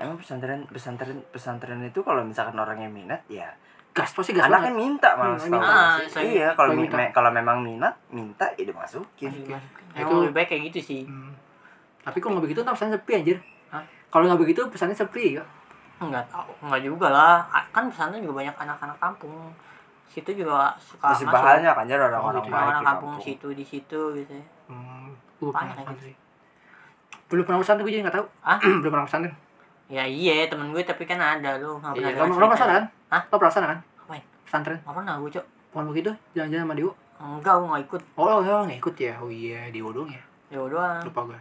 S3: Emang pesantren pesantren pesantren itu kalau misalkan orangnya minat ya
S2: Gas pasti gas
S3: anak kan
S2: banget.
S3: minta
S2: Hmm,
S3: malah setahu
S2: minta.
S3: gue
S1: Ah,
S3: sih.
S1: saya-
S3: iya kalau
S2: saya
S3: mi-
S2: minta.
S3: me- kalau memang minat minta ya dimasukin
S1: Aduh,
S2: Itu-
S1: emang gitu. lebih baik kayak gitu sih
S2: Hmm. Tapi kalau nggak begitu ntar pesannya sepi anjir.
S1: Hah?
S2: Kalau nggak begitu pesannya sepi. ya.
S1: nggak tahu nggak juga lah A- kan pesantren juga banyak anak-anak kampung situ juga suka masuk
S3: masih bahannya kan jadi
S2: Oh,
S3: orang-orang
S2: gitu.
S3: baik
S1: orang
S3: di
S1: kampung
S3: kampung.
S1: situ di situ gitu ya.
S2: Hmm. Gue
S1: Apaan
S2: pernah
S1: kayak
S2: pesan
S1: gitu?
S2: sih. Belum pernah pesan tuh gue jadi nggak tahu.
S1: Hah?
S2: Belum pernah pesan. kan?
S1: ya iya temen gue tapi kan ada lo nggak pernah
S2: Iya,
S1: dengar
S2: lo lo
S1: cerita.
S2: pesan kan?
S1: Hah?
S2: Lo pesan kan?
S1: Apaan?
S2: Pesantren.
S1: nggak pernah gue cok
S2: Bukan begitu? Jalan-jalan sama Dio.
S1: enggak gue nggak ikut
S2: Oh, oh, oh, nggak ikut ya? Oh iya, Dio doang ya.
S1: ya doang
S2: Lupa gue.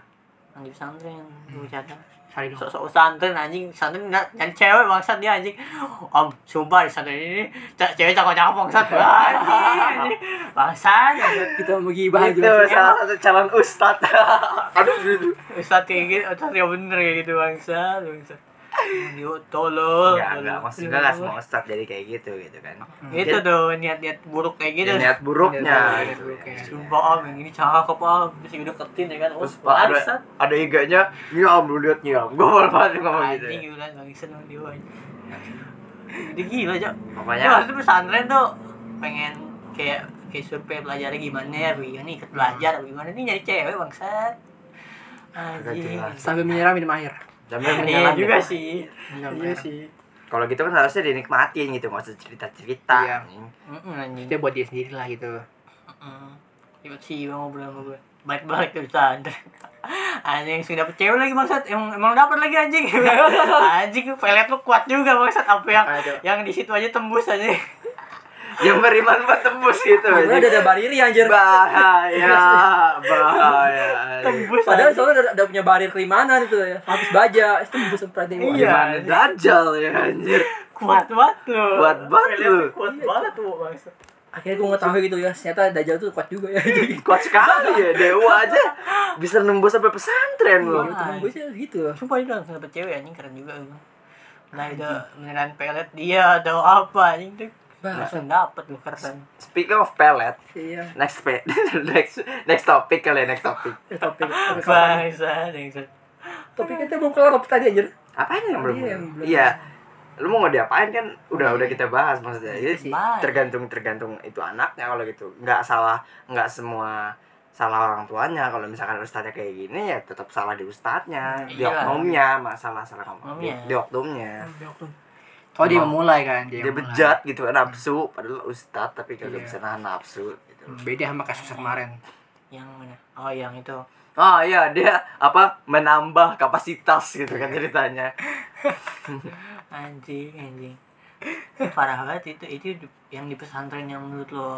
S1: yang di pesantren gue cadang
S2: Sari dong.
S1: sok-sok pesantren anjing pesantren nggak nyari cewek bangsat dia anjing om sumpah di pesantren ini ce- cewek cakap-cakap bangsat anjing anjing. bangsat bangsat.
S2: Kita mau gibah
S1: Gitu,
S3: itu
S2: aja.
S3: salah satu calon ustad aduh aduh.
S1: ustad kayak gitu ustad yang bener kayak gitu bangsat bangsat Yo, tolol.
S3: Enggak, enggak, Ya, maksudnya enggak semua ustad jadi kayak gitu gitu kan.
S1: Hmm. Itu Iya, tuh niat-niat buruk kayak gitu.
S3: Jadi niat
S2: Iya,
S3: buruknya
S2: Niat
S3: gitu.
S2: buruknya.
S3: ya.
S1: Sumpah om, yang ini cakep om. Terus gue deketin ya kan. Oh,
S3: Terus Pak, ada
S1: bangsat.
S3: ada iganya, ya om lu lihat ya, gue malu banget ngomong gitu.
S1: Anjing gila, bangsat sama dia. Dia gila, Cok.
S3: Pokoknya
S1: Ya, maksudnya pesantren tuh pengen kayak kayak survei pelajarnya gimana ya, Wi? Ini ikut belajar apa gimana nih nyari cewek bangsat.
S3: Kagak
S1: Anjing.
S3: jelas.
S2: Sambil menyerah minum air.
S3: sambil
S1: Iya
S3: menyelam
S1: juga
S3: ya.
S1: sih.
S2: Minum
S1: Iya
S2: air.
S1: sih.
S3: Kalau gitu kan harusnya dinikmatin gitu, nggak usah cerita-cerita.
S2: Iya.
S1: Mm-mm, anjing.
S2: Itu buat dia sendiri lah gitu.
S1: Mm-mm. Ribet sih gua ngobrol sama gue. balik-balik tuh bercanda anjing sudah dapet cewek lagi maksud emang emang dapat lagi anjing anjing pelet lu kuat juga maksud apa yang
S3: Aduh.
S1: yang di situ aja tembus aja
S3: yang Ya, beriman buat tembus gitu
S1: Iya,
S4: Padahal udah ada bariri anjir.
S3: bahaya bahaya
S1: tembus
S4: Padahal
S1: anjing.
S4: soalnya udah, udah punya barir keimanan itu ya. Habis baja, itu tembus berarti
S1: Iya.
S3: gimana dajal ya anjir
S1: kuat banget lu
S3: Kuat banget
S1: Pelet
S3: lu.
S1: kuat banget tuh maksud
S4: Akhirnya gue ngetahui gitu ya, ternyata Dajjal tuh kuat juga ya. Jadi
S3: kuat sekali ya dewa aja bisa nembus sampai pesantren loh
S1: Iya.
S4: temen gue sih gitu.
S1: sumpah itu langsung dapet cewek anjing keren juga lu nah itu beneran pelet dia atau apa anjing tuh
S4: Bah.
S2: Nah.
S1: langsung dapet lu keren
S3: speaking of pelet
S4: Iya.
S3: next pe next next topik kali ya next topik
S4: Eh, Topik. Topik apa?
S1: bangsa anjing
S4: Topiknya tuh belum kelar topik tadi anjir.
S3: apaan yang belum
S4: Iya, yang belum.
S3: iya lu mau diapain kan udah udah kita bahas maksudnya jadi
S1: Bahas.
S3: tergantung tergantung itu anaknya kalau gitu nggak salah nggak semua salah orang tuanya kalau misalkan ustadznya kayak gini ya tetap salah di ustadznya di
S1: Iya.
S3: oknumnya masalah salah kamu Iya,
S1: Oknumnya.
S3: di oknumnya
S2: Oh dia memulai
S1: Iya,
S2: kan, dia,
S3: dia
S2: memulai.
S3: bejat gitu kan nafsu padahal ustadz tapi kagak
S2: Iya.
S3: bisa nahan nafsu gitu.
S2: Hmm, Beda sama kasus kemarin.
S1: yang mana oh yang itu
S3: oh iya dia apa menambah kapasitas gitu kan ceritanya
S1: anjing anjing parah banget itu itu di- yang di pesantren yang menurut lo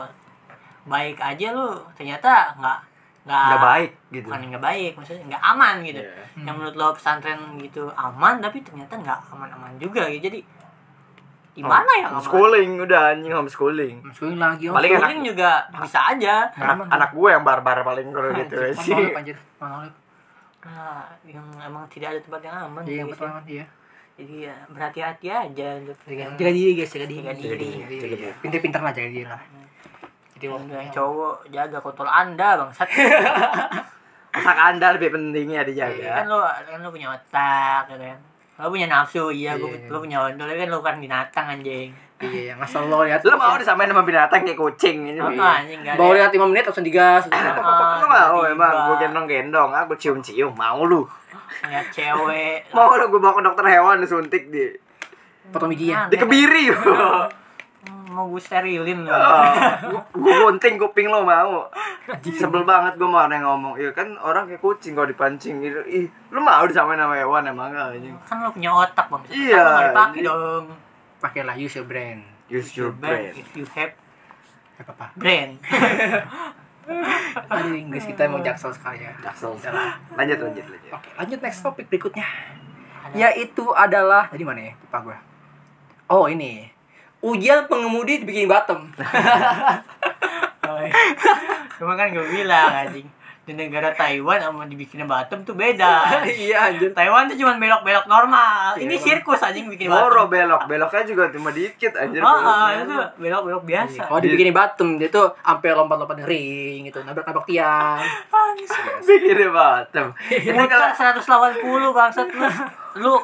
S1: baik aja lo ternyata nggak nggak
S3: nggak baik gitu
S1: Ah. bukan nggak baik maksudnya nggak aman gitu
S3: Iya.
S1: yang menurut lo pesantren gitu aman tapi ternyata nggak aman-aman juga gitu jadi gimana ya nggak aman?
S3: homeschooling udah anjing homeschooling
S2: Masukin lagi oh.
S3: Oh, Paling enak.
S1: Homeschooling juga bisa aja
S3: anak, anak gue yang barbar paling kalau gitu
S2: Anjir,
S3: sih
S2: monolip, anjir. Monolip.
S1: nah, yang emang tidak ada tempat yang aman
S2: Iya, yang
S1: gitu.
S2: pertama dia.
S1: jadi ya berhati-hati aja untuk
S3: Iya,
S1: yang,
S2: Jaga diri guys, jaga
S1: Jaga
S2: diri.
S1: diri.
S3: Jaga diri.
S2: Iya, Pinter-pinter lah jaga diri lah. Jadi
S1: yang- yang
S2: waktu
S1: cowok jaga kotor anda bangsat
S3: Iya. otak anda lebih pentingnya
S1: kan
S2: Iya,
S3: dijaga
S1: lo kan lo punya otak gitu kan lo punya nafsu iya gua
S2: Iya.
S1: lo punya otak tapi kan lo kan binatang anjing
S2: Iya, yang asal lo lihat.
S3: lu mau disamain sama binatang kayak kucing ini
S1: Apa
S2: Iya.
S3: Bang?
S1: anjing gak
S2: Baru
S1: ada Ah.
S2: lihat 5 menit langsung digas.
S3: Apa,
S2: Ah,
S3: apa, apa, lu mau Oh,
S1: tiba-tiba.
S2: iya.
S3: emang gue gendong gendong aku cium cium mau lu
S1: ngeliat cewek
S3: mau lu gue bawa ke dokter hewan disuntik di
S2: Potong ya. bijinya.
S3: di kebiri
S1: ya?
S2: Iya.
S1: Hmm, mau gue sterilin lo
S3: Oh. gue Ah, gunting kuping lo mau sebel banget gue mau orang yang ngomong iya kan orang kayak kucing kalau dipancing gitu ih lu mau disamain sama hewan emang anjing
S1: kan lo punya otak bang Otak
S3: Iya,
S1: lo nggak dipakai
S3: ini-
S1: dong
S2: Pakailah use your brand.
S3: use your brain
S1: if you have
S2: Gak apa-apa.
S1: brain
S2: Aduh, Inggris kita mau jaksel sekali ya.
S3: Jaksel. lanjut lanjut lanjut
S2: Oke, lanjut next topik berikutnya. Yaitu adalah tadi mana ya? Lupa gue. Oh, ini. Ujian pengemudi dibikin bottom.
S1: Oh, iya. cuma kan gue bilang anjing di negara Taiwan sama dibikin Batam tuh beda
S2: iya anjir.
S1: Taiwan tuh cuma belok-belok normal ini
S2: Iya.
S1: sirkus anjing bikin Batam
S3: Moro belok, beloknya juga cuma dikit anjir.
S1: ah ah,
S3: beloknya.
S1: itu belok-belok biasa
S2: Kalau Oh, dibikin bottom, dia tuh sampai lompat-lompat ring gitu, nabrak-nabrak tiang.
S3: Bikinnya bottom. Itu
S1: Muter
S3: Iya, kalau
S1: 180 bangsat lu. Lu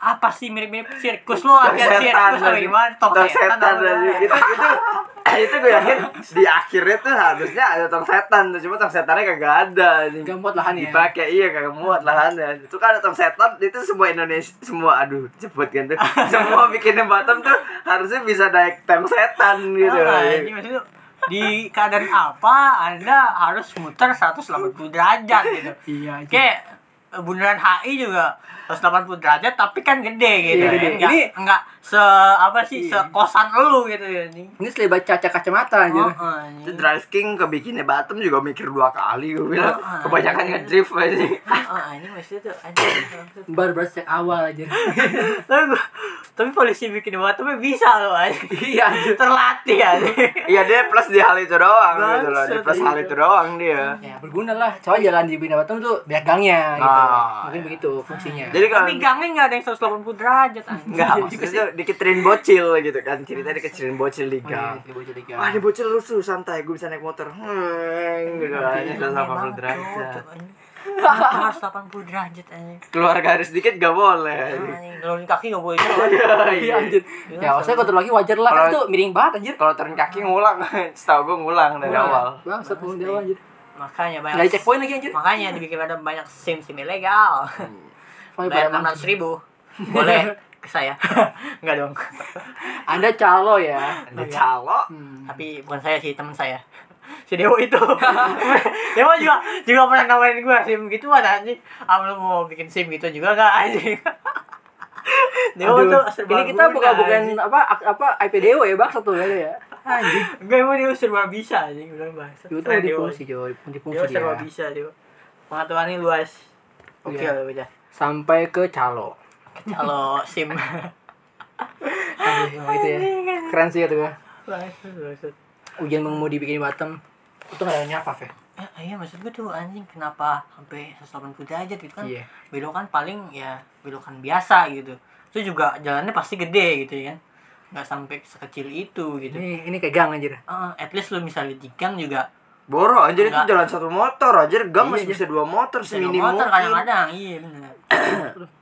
S1: apa sih mirip-mirip sirkus lu ada
S3: tong setan
S1: sirkus apa
S3: lagi.
S1: gimana? Tong setan. apa?
S3: lagi. Itu itu itu gue yakin di akhirnya tuh harusnya ada tong setan tuh cuma tong setannya kagak ada anjing.
S2: Gak muat lahannya.
S3: dipakai iya kagak muat lahannya itu kan ada tong setan itu semua Indonesia semua aduh cepet kan tuh semua bikinnya bottom tuh harusnya bisa naik tong setan gitu
S1: Ah,
S3: anjing.
S1: ini maksudnya di keadaan apa Anda harus muter 180 derajat gitu.
S2: Iya, anjir.
S1: Kayak bundaran HI juga 180 derajat tapi kan gede gitu.
S2: Iya,
S1: kan.
S2: gede.
S1: Enggak
S2: Ini-
S1: enggak se apa sih sekosan lu gitu ya anjing.
S2: Ini selebat caca kacamata anjir.
S1: Oh, anjing.
S3: Itu Drive King ke bikinnya Batam juga mikir dua kali gue bilang.
S1: Ah.
S3: Kebanyakan ngedrift aja.
S1: Oh, anjing maksudnya tuh anjing.
S2: Baru baru sejak awal anjir.
S1: tapi gua- tapi polisi bikin bottomnya bisa loh anjing
S2: iya anjir.
S1: terlatih anjing
S3: Iya dia plus di hal itu doang gitu loh. Dia
S1: Bangsat,
S3: plus hal
S1: iya.
S3: itu doang dia.
S2: Ya, berguna lah. Soalnya jalan di Bina Batam tuh banyak gangnya gitu.
S3: Ah,
S2: Mungkin
S3: iya.
S2: begitu fungsinya.
S3: Jadi kalau
S1: tapi gangnya nggak ada yang 180 derajat anjing
S3: enggak maksudnya tuh dikiterin bocil gitu kan. Cerita dikecerin bocil
S1: Oh,
S3: di gang.
S2: Jadi bocah
S1: iya.
S2: tiga.
S3: Wah ini bocil lusuh santai gue bisa naik motor. Hmm gitu aja
S1: Iya, Memang
S3: 180 derajat.
S1: cocok, anjing. Kenapa harus 80 derajat anjing
S3: Keluar garis dikit gak boleh. Oh,
S1: anjing ngeluarin kaki nggak boleh jalan
S2: Iya anjir. Ya, maksudnya kotor lagi wajar lah. Kan
S3: Kalau-
S2: itu miring banget anjir.
S3: Kalau turun kaki ngulang, setahu gue ngulang dari awal.
S2: Bang, set mau jauh anjir.
S1: makanya banyak
S2: Enggak cek poin lagi anjir.
S1: makanya dibikin ada banyak sim sim ilegal
S2: Poin
S1: bayar
S2: banyak.
S1: 600 ribu boleh ke saya nggak dong
S2: Anda calo ya.
S3: Ada calo.
S1: Iya.
S2: Hmm.
S1: tapi bukan saya sih teman saya si Dewo itu Dewo juga juga pernah nawarin gue sim gitu ada anjing ah lu mau bikin sim gitu juga gak anjing Dewo
S2: Aduh,
S1: tuh
S2: ini kita bukan bukan apa ak- apa IPDO ya bang satu ya ya. Anjing.
S1: gue emang dia serba bisa anjing bilang bahasa
S2: Itu
S1: Keren Dewo.
S2: dipungsi Joy,
S1: Dewo
S2: dipungsi
S1: serba
S2: dia.
S1: bisa Dewo pengetahuannya luas oke
S2: Iya.
S1: lah bocah
S2: Sampai ke calo.
S1: kalau sim
S2: Anjing, emang itu ya. Keren sih itu ya.
S1: Maksud- maksud-
S2: Ujian mengemudi bikin di Batam. Itu nggak ada ya. nyapa, Fe.
S1: Eh, iya maksud gue tuh anjing kenapa sampai 180 derajat gitu kan
S2: Iya.
S1: belokan paling ya belokan biasa gitu itu juga jalannya pasti gede gitu ya kan nggak sampai sekecil itu gitu
S3: Iya.
S2: Ini ini kayak gang anjir.
S1: Eh, at least lu misalnya di gang juga
S3: Boro anjir itu
S1: Enggak.
S3: jalan satu motor anjir gang
S1: Iya,
S3: masih
S1: iya.
S3: bisa dua motor
S1: jalan
S3: seminim
S1: motor
S3: mungkin.
S1: kadang-kadang iya bener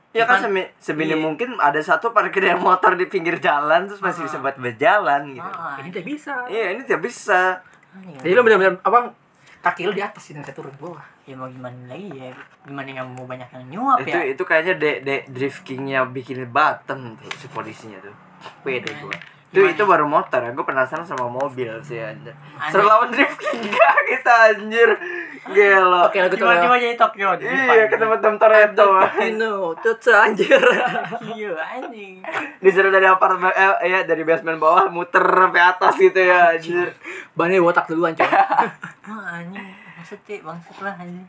S3: Ya kan
S1: Cuman-
S3: semi, seminim
S1: Iya.
S3: mungkin ada satu parkir yang motor di pinggir jalan terus masih bisa buat berjalan gitu.
S1: Ah,
S2: Ini tidak bisa.
S3: Iya, ini tidak bisa.
S1: anjing.
S2: Jadi lo benar-benar apa kaki lo di atas sih, nggak turun ke bawah.
S1: ya mau gimana lagi ya gimana nggak mau banyak yang nyuap
S3: Itu
S1: ya
S3: itu kayaknya de, de drift kingnya bikin Batam tuh si polisinya tuh. Pede gua. Itu
S1: Gimana?
S3: itu baru motor, ya. gua penasaran sama mobil sih anjir.
S1: Anjir.
S3: Seru lawan drift king gak kita anjir. Gelo.
S2: Oke, lagu
S1: cuma cuma
S2: tuh.
S1: jadi Tokyo di depan.
S3: Iya, ketemu Tom Toretto.
S2: Pino, tuh anjir.
S1: iya anjing
S3: Disuruh dari apartemen eh ya dari basement bawah muter sampai atas gitu ya anjir.
S2: Bannya botak duluan, coy.
S1: ah anjing maksudnya bangsat lah anjing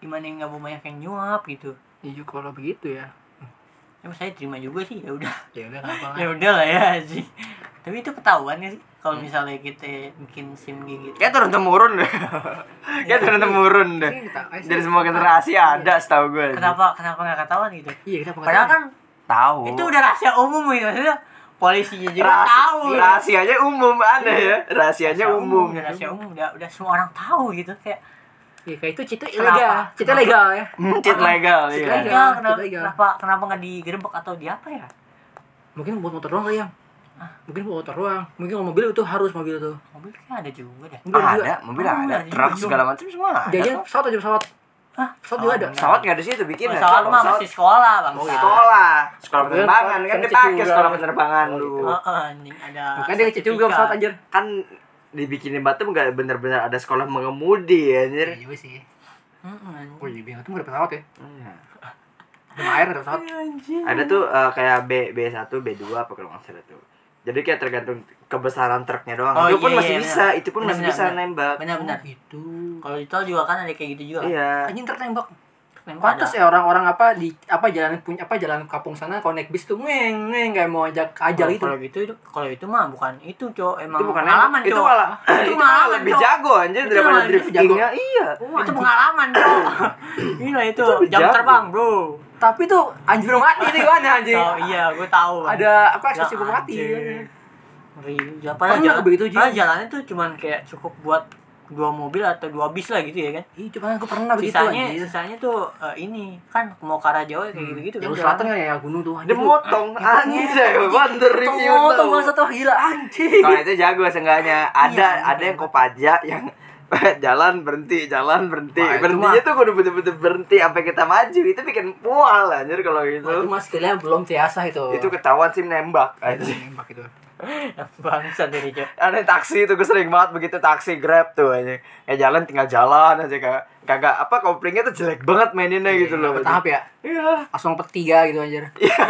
S1: gimana yang nggak mau banyak yang nyuap gitu
S2: Iya, kalau begitu ya.
S1: ya saya terima juga sih ya udah
S2: Ya udah enggak apa-apa.
S1: ya udah lah ya sih tapi itu ketahuan ya sih kalau misalnya kita bikin sim kayak gitu
S3: Kayak turun temurun deh. Kayak turun temurun deh.
S2: Iya, kita-
S3: Dari semua generasi ada setahu gue.
S1: kenapa kenapa nggak ketahuan gitu
S2: Iya, kita pengen.
S1: padahal kan
S3: Tahu.
S1: itu udah rahasia umum gitu maksudnya polisinya juga
S3: Ras-
S1: tahu gitu.
S3: Rahasianya umum ada ya. Rahasianya umum.
S1: udah rahasia umum udah udah semua orang tahu gitu kayak
S2: Iya, kayak itu cita
S1: Kenapa?
S2: ilegal. Cita legal ya.
S3: Hmm, cheat legal
S2: Cheat
S3: ya.
S2: legal.
S1: "Enggak, kenapa
S2: tidak, iya."
S1: kenapa kenapa nggak digerebek atau di apa ya
S2: Mungkin buat motor doang kali yang. Mungkin buat motor doang. Mungkin kalau mobil itu harus mobil tuh.
S1: mobil kan ada juga deh
S2: Mobil juga.
S3: Ada, mobil
S1: Oh,
S3: ada,
S1: iya,
S3: truk
S1: iya.
S3: segala macam semua ada.
S2: Jajan
S3: kok.
S2: pesawat aja pesawat.
S1: Hah?
S2: Pesawat juga ada.
S3: Pesawat nggak ada situ bikin ya.
S1: pesawat mah masih sekolah bang
S3: iya. sekolah. Sekolah
S2: Mungkin
S3: penerbangan kan
S2: kan
S3: dipakai
S2: kecil
S3: sekolah
S2: juga.
S3: penerbangan
S2: Oh,
S3: dulu.
S1: Heeh, anjing ada
S2: Bukan dia kecil juga
S1: sertifikat.
S2: pesawat anjir.
S3: Kan dibikinin Batam nggak bener-bener ada sekolah mengemudi anjir.
S2: juga sih.
S1: Heeh, anjing.
S2: Oh iya, bingung tuh nggak ada pesawat ya. Belum air nggak ada pesawat.
S3: ada tuh eh, kayak B B1, B2 apa kalau nggak salah tuh. Jadi kayak tergantung kebesaran truknya doang.
S1: Oh,
S3: itu pun
S1: iya,
S3: masih
S1: iya,
S3: bisa, itu pun
S1: Benar,
S3: masih
S1: benar,
S3: bisa
S1: benar.
S3: nembak.
S1: benar-benar
S2: Itu.
S1: kalau di tol juga kan ada kayak gitu juga
S3: Iya.
S2: Anjing tertembak.
S1: Memang ada.
S2: Pantas ya orang-orang apa di apa jalan punya apa jalan kampung sana kalau naik bis tuh ngeng ngeng kayak mau ajak ajal
S1: Kalau-
S2: gitu.
S1: Kalau gitu kalau itu mah bukan itu, Cok. Emang
S3: Itu bukan
S1: pengalaman,
S3: itu
S1: Cok.
S3: malah
S1: itu
S3: itu malah
S1: pengalaman,
S3: lebih
S1: Cok.
S3: jago anjir
S1: Itu
S3: daripada
S1: malah lebih
S3: driftingnya. Iya.
S1: Itu pengalaman, Cok. Gila itu,
S3: lebih
S1: jam
S3: jago.
S1: terbang, Bro.
S2: Tapi tuh anjing belum mati nih gimana anjing.
S1: Oh iya, gue tahu. Bang.
S2: Ada apa
S1: Ya,
S2: ekspresi belum mati.
S1: anjir. Ngeri. Ya,
S2: Pernah
S1: padahal jalan,
S2: begitu, Ji?
S1: padahal jalannya tuh cuman kayak cukup buat dua mobil atau dua bis lah gitu ya kan.
S2: Ih, cuman aku pernah begitu
S1: Sisanya
S2: anjir.
S1: sisanya tuh eh, ini kan mau ke arah Jawa kayak gitu-gitu kan.
S2: Jalur
S1: jalannya.
S2: selatan kan ya gunung tuh.
S3: Dia motong anjir, wonder review.
S2: Oh, tuh
S3: tau.
S2: masa tuh gila anjing.
S3: Kalau itu jago seenggaknya ada
S1: Iya,
S3: ada yang kopaja yang jalan berhenti jalan berhenti
S2: Wah, itu
S3: berhentinya
S2: mah-
S3: tuh kudu betul-betul berhenti sampai kita maju itu bikin pual anjir kalau
S2: Itu
S3: gitu
S2: mas skillnya belum tiasa itu. kan
S3: itu ketahuan sih nembak anjir
S2: nembak itu.
S1: Bangsat dari Jawa.
S3: ada taksi itu gue sering banget begitu taksi grab tuh aja ya jalan tinggal jalan aja kagak kagak apa koplingnya tuh jelek banget maininnya gitu loh
S2: Berapa tahap ya?
S3: iya
S2: Langsung petiga gitu anjir.
S3: iya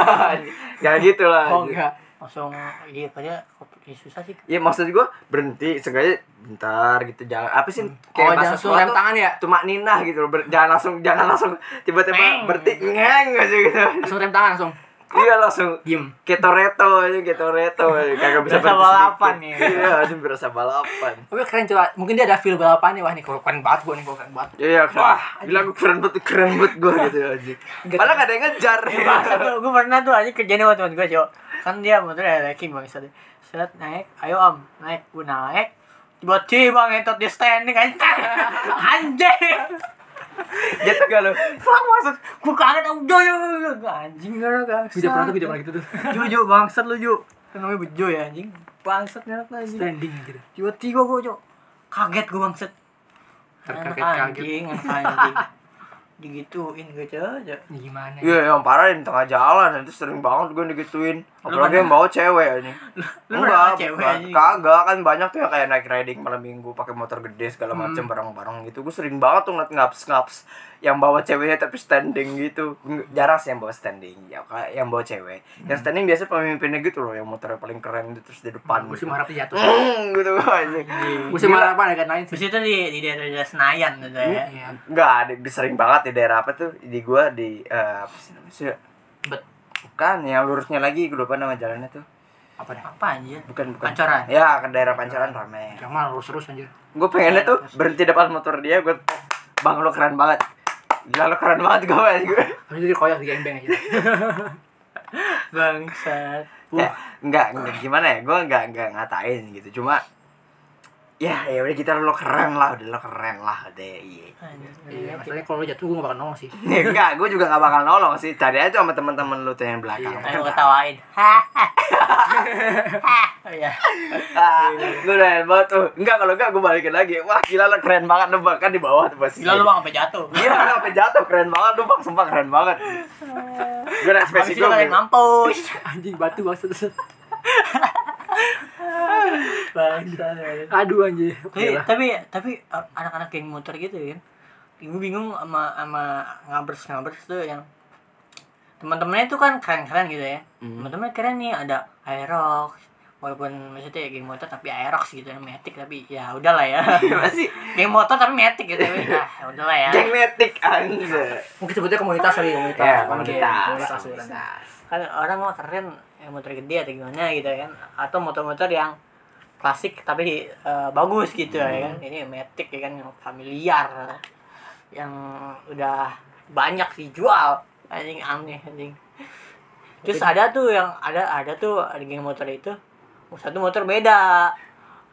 S3: ya gitu lah
S2: Oh
S3: anjir.
S2: enggak.
S1: Langsung iya padahal kok- ya, susah sih.
S3: Iya maksud gue berhenti sengaja bentar gitu jalan apa sih
S2: Oh,
S3: bahasa
S2: jangan langsung rem
S3: Sunda tuh,
S2: tangan ya.
S3: cuma ninah gitu loh Ber- jangan langsung jangan langsung tiba-tiba
S1: Meng.
S3: berhenti ngeng aja gitu
S2: Langsung rem tangan langsung.
S3: iya langsung
S2: Diem.
S3: ketoreto aja ketoreto aja kagak
S1: Berasa
S3: bisa berhenti
S1: balapan
S3: sedikit.
S1: ya.
S3: iya anjing berasa balapan
S2: Tapi keren coba. Mungkin dia ada feel balapan nih. Wah, nih keren banget gua nih, gua keren banget.
S3: Iya, wah, gila gue keren banget, keren banget gue gitu aja. Padahal gak ada yang ngejar.
S1: Bangsat tuh, gue pernah tuh aja kerjaan sama teman gue cowok Kan dia motornya ada king bangsat Set naik, ayo om, naik, gue naik Tiba-tiba ngentot di standing anjing Anjing
S3: Gitu gak lo?
S1: Fuck maksud, gue kaget aku joyo Anjing gak lo bangsat
S2: Video pernah tuh video pernah gitu tuh.
S1: Jo, Jo, bangsat lu Jo Kan namanya bejo ya anjing Bangsat ngentot lu, anjing
S2: Standing gitu.
S1: Tiba-tiba gue cowok Kaget gue bangsat Anak
S2: Terkaget-kaget.
S1: anjing, anak anjing Digituin gue cowok
S2: Ini Gimana? ya?
S3: Iya, yang parah di tengah jalan, itu sering banget gue digituin. Apalagi yang bawa cewek ini.
S1: Lu pernah
S3: Enggak,
S1: cewek
S3: bukan.
S1: anjing?
S3: kagak kan banyak tuh yang kayak naik riding malam minggu pakai motor gede segala
S1: Hmm.
S3: macem bareng-bareng gitu. Gue sering banget tuh ngeliat ngaps-ngaps yang bawa ceweknya tapi standing gitu. Nggak- Jarang sih yang bawa standing, ya kayak yang bawa cewek.
S1: Hmm.
S3: Yang standing biasa pemimpinnya gitu loh, yang motornya paling keren gitu, terus di depan.
S2: Gue sih
S3: gitu.
S2: marah jatuh.
S3: Hmm, gitu anjing.
S2: Gue sih marah apa ada kan lain sih.
S1: Terus itu di di daerah daerah Senayan gitu ya.
S2: Iya.
S3: Enggak, di- di- sering banget di daerah apa tuh? Di gua di eh, apa sih namanya? Sih,
S1: Bet.
S3: Bukan, yang lurusnya lagi gue lupa nama jalannya tuh.
S2: Apa dah?
S1: Apa anjir?
S3: Bukan, bukan.
S1: Pancoran.
S3: Ya, ke daerah Pancoran rame.
S2: Jamal lurus terus anjir.
S3: gue pengennya tuh berhenti depan motor dia gue bang lo keren banget gila lo keren banget gue bang
S2: Habis itu dikoyak di gembeng aja.
S1: Bangsat.
S3: ya, enggak, enggak gimana ya gue enggak enggak ngatain gitu cuma ya ya udah kita lo keren lah udah lo keren lah udah iya
S1: Anjir.
S2: Iya, masalahnya kalau lu jatuh gue gak bakal nolong sih.
S3: Nih, enggak gue juga nggak bakal nolong sih cari aja sama teman-teman lu tuh yang belakang Kan
S1: Ayo gua ketawain. Hahaha. Ya.
S3: ah,
S1: Iya,
S3: gue udah banget tuh enggak kalau enggak gue balikin lagi wah gila lo keren banget lo bahkan di bawah tuh pasti
S1: Gila lu bang sampai jatuh.
S3: gila lo sampai jatuh keren banget lo bang sumpah keren banget gue udah
S1: Eh, Habis
S3: ekspresi
S1: itu kalian
S3: gue
S1: mampus.
S2: Anjing batu maksud terus.
S1: Bangsat.
S2: Aduh anjir.
S1: tapi
S2: Oke lah.
S1: tapi tapi uh, anak-anak geng motor gitu kan ibu bingung sama sama ngabers ngabers tuh yang teman-temannya tuh kan keren-keren gitu ya teman-temannya keren nih ada Aerox walaupun maksudnya ya geng motor tapi Aerox gitu ya metik tapi ya udahlah ya
S2: Iya.
S3: masih
S1: geng motor tapi metik gitu ya ah udahlah ya
S3: Geng metik anjir.
S2: Mungkin sebutnya komunitas kali komunitas.
S3: Ya,
S2: Oke,
S3: komunitas.
S2: komunitas.
S1: kan orang mah keren ya, motor gede atau gimana gitu kan atau motor-motor yang klasik tapi di- eh, bagus gitu ya kan ini metik ya kan yang familiar yang udah banyak dijual anjing aneh anjing terus ada tuh yang ada ada tuh ada geng motor itu satu motor beda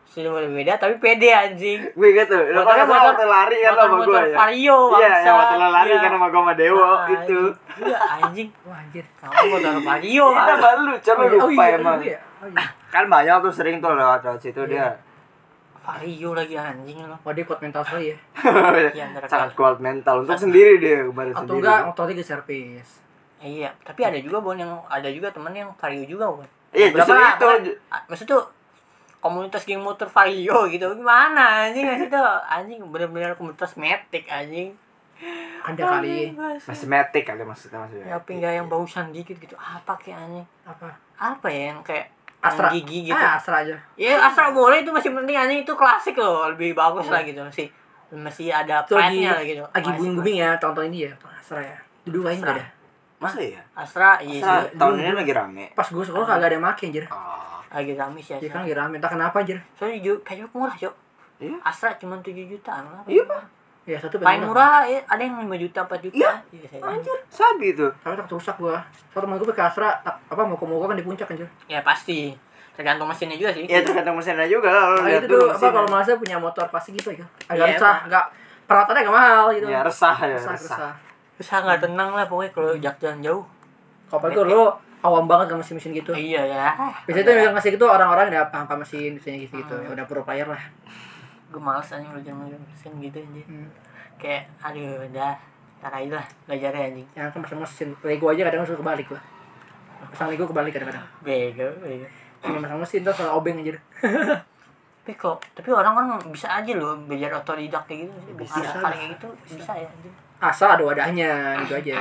S1: satu motor beda tapi pede anjing
S3: Gue inget tuh, lo kan
S1: Motornya
S3: sama
S1: motor-
S3: waktu lari kan lo sama
S1: motor-motor
S3: gue ya
S1: vario,
S3: Iya,
S1: bangsat.
S3: yang waktu lo lari
S1: Iya.
S3: kan sama gue sama Dewo
S1: Ah,
S3: itu
S1: anjing. iya anjing
S2: Wah anjir.
S1: kamu motor vario
S3: Kita
S1: anjing.
S3: baru lucu, lo lupa emang
S2: iya. Oh, iya.
S3: Kan banyak tuh sering tuh lewat lewat situ
S1: Iya.
S3: dia
S1: vario lagi anjing lo
S2: Wah dia kuat mental sekali ya.
S1: Iya, antara
S3: Sangat
S1: kali.
S3: kuat mental, untuk sendiri dia kemarin
S2: Atau
S3: sendiri
S2: enggak otornya ke servis.
S1: Iya, tapi ada juga bon yang ada juga temen yang vario juga bon.
S3: Iya,
S1: Berapa
S3: justru
S1: lah,
S3: itu
S1: kan? Ah, Maksud tuh komunitas geng motor vario gitu gimana anjing maksud tuh anjing bener-bener komunitas metik anjing.
S2: Ada kali
S3: Masih metik kali maksudnya maksudnya
S2: Gitu.
S1: Ya pinggah yang bausan dikit gitu apa kayak anjing
S2: apa?
S1: apa ya yang kayak
S2: Astra.
S1: yang gigi gitu.
S2: Ah, Astra aja.
S1: Ya asal boleh itu masih penting anjing itu klasik loh lebih bagus lah gitu masih masih ada
S2: Hmm. Itu lagi
S1: pride-nya lah gitu.
S2: lagi
S1: Klasik
S2: booming
S1: lah.
S2: booming ya tahun-tahun ini ya, tahun Astra ya. Dulu kayaknya enggak ada.
S3: Masa iya?
S1: Astra iya
S3: Masa
S1: sih
S3: tahun ini lagi rame?
S2: Pas gue sekolah kagak ada yang make anjir.
S3: Oh,
S1: lagi rame sih.
S2: Ya
S1: Astra.
S2: kan lagi rame, entah kenapa anjir.
S1: Soalnya ju- kayaknya murah, Cok.
S3: Iya.
S1: Astra cuma 7 jutaan lah.
S3: Iya, Pak.
S2: Ya satu
S1: Paling murah ya, ada yang 5 juta, 4 juta.
S3: Iya.
S1: Iya, saya.
S3: anjir, sabi tuh
S2: Tapi tak rusak gua. Soalnya temen gua pakai Astra, tak- apa mau ke kan di puncak anjir.
S1: Ya pasti. Tergantung mesinnya juga sih.
S3: Ya tergantung mesinnya juga lah, lo
S2: Nah,
S3: lihat
S2: Iya. itu tuh
S3: dulu
S2: apa kalau
S3: mesinnya.
S2: Malaysia punya motor pasti gitu ya. Agak
S1: Iya,
S2: resah,
S1: Pak.
S2: agak perawatannya agak mahal gitu.
S3: Ya resah ya,
S2: resah,
S3: resah
S2: resah.
S1: Usah nggak tenang lah pokoknya kalau jak jalan jauh.
S2: Kalau pagi lu awam banget sama mesin-mesin gitu.
S1: Iya ya.
S2: Biasanya tuh yang ngasih gitu orang-orang yang udah paham-paham mesin biasanya gitu,
S3: Ah,
S2: gitu.
S3: iya.
S1: Hmm.
S2: Ya udah pro player lah.
S1: Gue males anjing lu jalan jalan mesin gitu anjing.
S2: Hmm.
S1: Kayak aduh udah. Ntar aja lah belajarnya anjing.
S2: Yang kan masih mesin Lego aja kadang suka kebalik gua. Pasang Lego kebalik kadang-kadang.
S1: Bego, bego.
S2: Cuma pasang mesin terus soal obeng anjir.
S1: Tapi kok, tapi orang-orang bisa aja loh belajar otodidak kayak gitu.
S3: Bisa.
S1: Ada kali kayak gitu bisa ya anjing.
S2: Asal ada wadahnya gitu aja.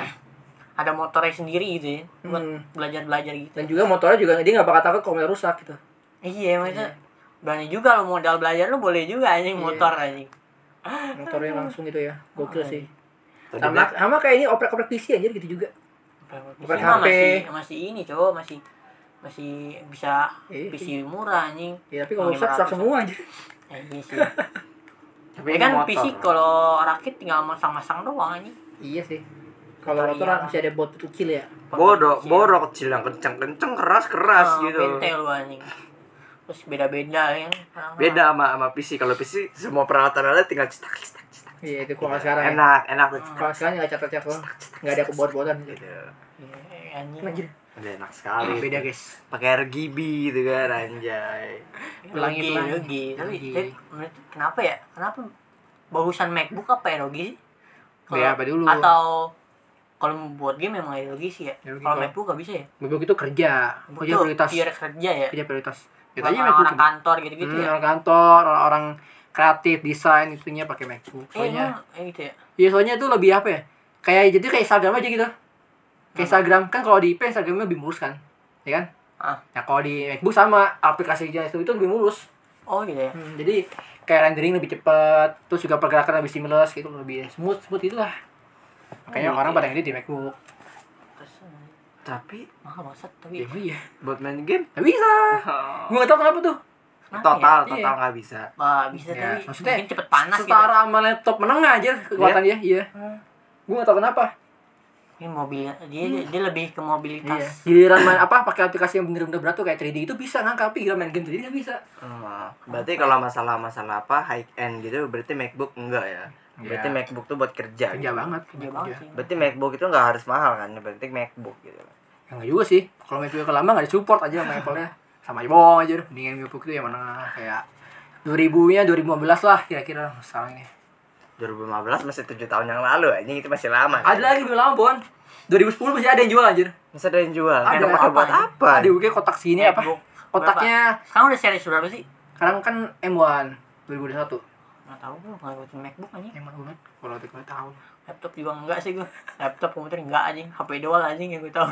S1: Ada motornya sendiri gitu ya. Buat
S2: Hmm.
S1: belajar-belajar gitu.
S2: Dan juga motornya juga dia nggak bakal takut kalau motor rusak gitu.
S1: Iya maksudnya berani juga lo modal belajar lo boleh juga anjing
S2: Iya.
S1: motor anjing.
S2: Motornya langsung gitu ya.
S3: Ah,
S2: Gokil
S3: iya.
S2: sih.
S3: Tadi
S2: Sama sama kayak ini oprek-oprek PC anjir gitu juga. Bukan
S1: Cuma
S2: HP.
S1: Masih, masih ini cowok masih masih bisa
S2: Iya
S1: PC murah anjing.
S2: Ya tapi kalau rusak rusak
S1: 500.
S2: semua anjir.
S1: Eh, iya sih.
S3: Tapi
S1: Ya
S3: ini
S1: kan
S3: motor.
S1: PC kalau rakit tinggal masang-masang doang anjing.
S2: Iya sih. Kalau motor kan masih ada bot kecil ya.
S3: Bodoh, bodoh kecil yang kenceng-kenceng,
S2: Ah,
S3: keras-keras gitu.
S1: Bente lo Oh, anjing. Terus beda-beda ya. kan.
S3: Beda sama sama PC. Kalau PC semua peralatan ada tinggal cetak cetak cetak.
S2: Iya itu kalau sekarang. ya.
S3: Enak, enak tuh cetak.
S2: Kalau sekarang nggak catat catat doang. Nggak ada kebot-botan gitu.
S3: Gitu.
S1: Iya, Anjing.
S2: Anjir.
S3: Udah enak sekali.
S2: Iya, Beda guys.
S3: Pakai RGB gitu kan anjay.
S2: Pelangi,
S1: Rugi,
S2: pelangi.
S1: rugi. Tapi
S2: Rugi.
S1: tapi menurut- kenapa ya? Kenapa bagusan MacBook apa ya rugi sih?
S2: Beli apa dulu?
S1: Atau kalau buat game memang ada sih ya.
S2: Ideologi,
S1: Kalau
S2: kalau-
S1: MacBook nggak bisa ya.
S2: MacBook itu gitu kerja, kerja
S1: Betul,
S2: prioritas,
S1: tier kerja ya.
S2: kerja prioritas. Ya
S1: Bukan
S2: tadi MacBook
S1: Orang-orang kantor gitu-gitu
S2: Hmm,
S1: ya.
S2: orang kantor, orang-orang kreatif, desain itunya pakai MacBook.
S1: Eh,
S2: Soalnya,
S1: emang, eh, gitu ya.
S2: iya soalnya itu lebih apa ya? Kayak jadi kayak Instagram aja gitu. Kayak Instagram kan kalau di IP Instagramnya lebih mulus kan, ya kan?
S1: Ah.
S2: Nah kalau di MacBook sama aplikasinya itu itu lebih mulus.
S1: Oh gitu ya.
S2: Hmm, jadi kayak rendering lebih cepat, terus juga pergerakan lebih seamless gitu, lebih smooth smooth itulah. Kayaknya
S1: Oh,
S2: orang
S1: iya.
S2: pada ngedit di MacBook.
S1: Terus eh,
S3: tapi
S1: mahal banget tapi
S2: Ya, iya.
S3: buat main game
S2: Gak bisa. Gue gak tau kenapa tuh.
S1: kenapa
S3: total
S2: Ah. Iya.
S3: total nggak bisa
S1: Ya? Wah, bisa
S2: Ya,
S1: tapi
S2: maksudnya
S1: mungkin cepet panas gitu. Hmm.
S2: Setara sama laptop menengah aja kekuatannya, iya. Gue gak tau kenapa.
S1: Ini mobilnya dia dia lebih ke mobilitas.
S2: Iya. Giliran main apa pakai aplikasi yang bener-bener berat tuh kayak 3D itu bisa ngangkat, tapi giliran main game 3D nggak bisa.
S3: Hmm, berarti kalau masalah-masalah apa high end gitu berarti MacBook enggak ya berarti
S2: Iya.
S3: MacBook tuh buat kerja
S2: Kerja
S3: gitu.
S2: banget. Iya.
S1: Gede banget sih.
S3: berarti MacBook itu nggak harus mahal kan yang penting MacBook gitu
S2: Ya, nggak juga sih. Kalau main juga lama nggak ada support aja sama Apple-nya. Sama aja bohong aja. udah. Mendingan MacBook itu yang menengah kayak 2000-nya 2015 lah kira-kira sekarang ini.
S3: 2015 masih tujuh tahun yang lalu anjing itu masih lama kan?
S2: Ada lagi belum lama, Bon. 2010 masih ada yang jual anjir.
S3: masih ada yang jual
S2: Ada
S3: yang pakai
S2: apa
S3: buat
S2: anjir?
S3: apa
S2: Ada juga kotak sini apa?
S1: MacBook.
S2: Kotaknya
S1: Sekarang udah series berapa sih?
S2: sekarang kan M1 2021.
S1: Nggak tahu gue nggak ngikutin MacBook aja.
S2: M1 banget. Kalau aku nggak tahu.
S1: Laptop juga enggak sih gue. Laptop komputer enggak anjing. HP doang anjing yang gue tahu.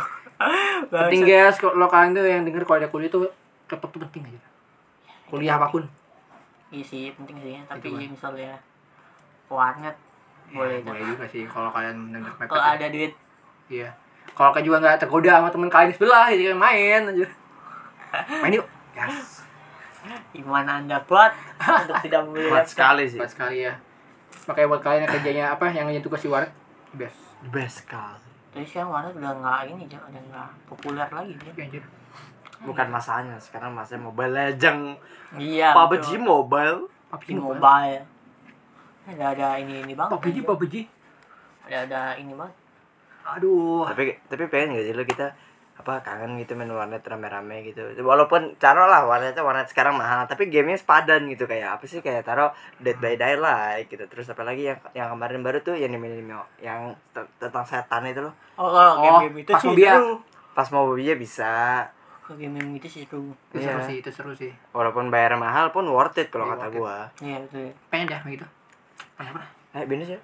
S1: Bangsat.
S2: Penting guys, kalau kalian tuh yang denger kalau ada kuliah tuh laptop tuh penting aja. Kuliah apapun.
S1: Iya sih penting sih. Tapi
S2: Itu, Bang.
S1: misalnya ke warnet boleh.
S2: Ya, boleh juga sih kalau kalian mendengar mepet.
S1: Kalau ada duit
S2: Iya. Kalau kalian juga nggak tergoda sama teman kalian di sebelah gitu kan main aja. Main yuk. Gas.
S1: iman anda kuat untuk tidak membeli
S3: kuat
S1: laptop.
S3: sekali sih
S2: Cepat sekali ya. Makanya buat kalian yang kerjanya apa yang ngerjain tugas di warnet best.
S3: best sekali
S1: Tapi sekarang warnet udah nggak ini aja, udah nggak populer lagi dia.
S2: Ya, anjir.
S3: bukan
S2: Hmm.
S3: masanya sekarang masanya mobile legend
S1: Iya.
S3: PUBG
S1: betul.
S3: mobile
S1: PUBG
S2: PUBG
S1: mobile.
S2: Mobile.
S1: Ada ada ini ini banget.
S2: PUBG
S1: anjing.
S2: PUBG.
S1: Ada ada ini banget.
S2: Aduh.
S3: tapi tapi pengen gak sih lo kita apa kangen gitu main warnet rame-rame gitu walaupun taruh lah warnetnya warnet sekarang mahal tapi gamenya sepadan gitu kayak apa sih kayak taruh Dead by Daylight gitu terus apa lagi yang yang kemarin baru tuh yang anime anime yang te- tentang setan itu loh
S1: Oh, kalau
S2: Oh,
S1: game game itu
S2: pas
S1: sih
S2: mobil.
S1: seru.
S3: pas mau belinya bisa
S1: Kalau game game itu sih seru.
S2: Itu seru
S3: Iya.
S2: sih, itu seru sih.
S3: walaupun bayar mahal pun worth it kalau
S2: Iya,
S3: kata
S2: worth it.
S3: gua
S1: Iya betul.
S2: Pengen deh begitu. Pernah pernah.
S3: eh binus ya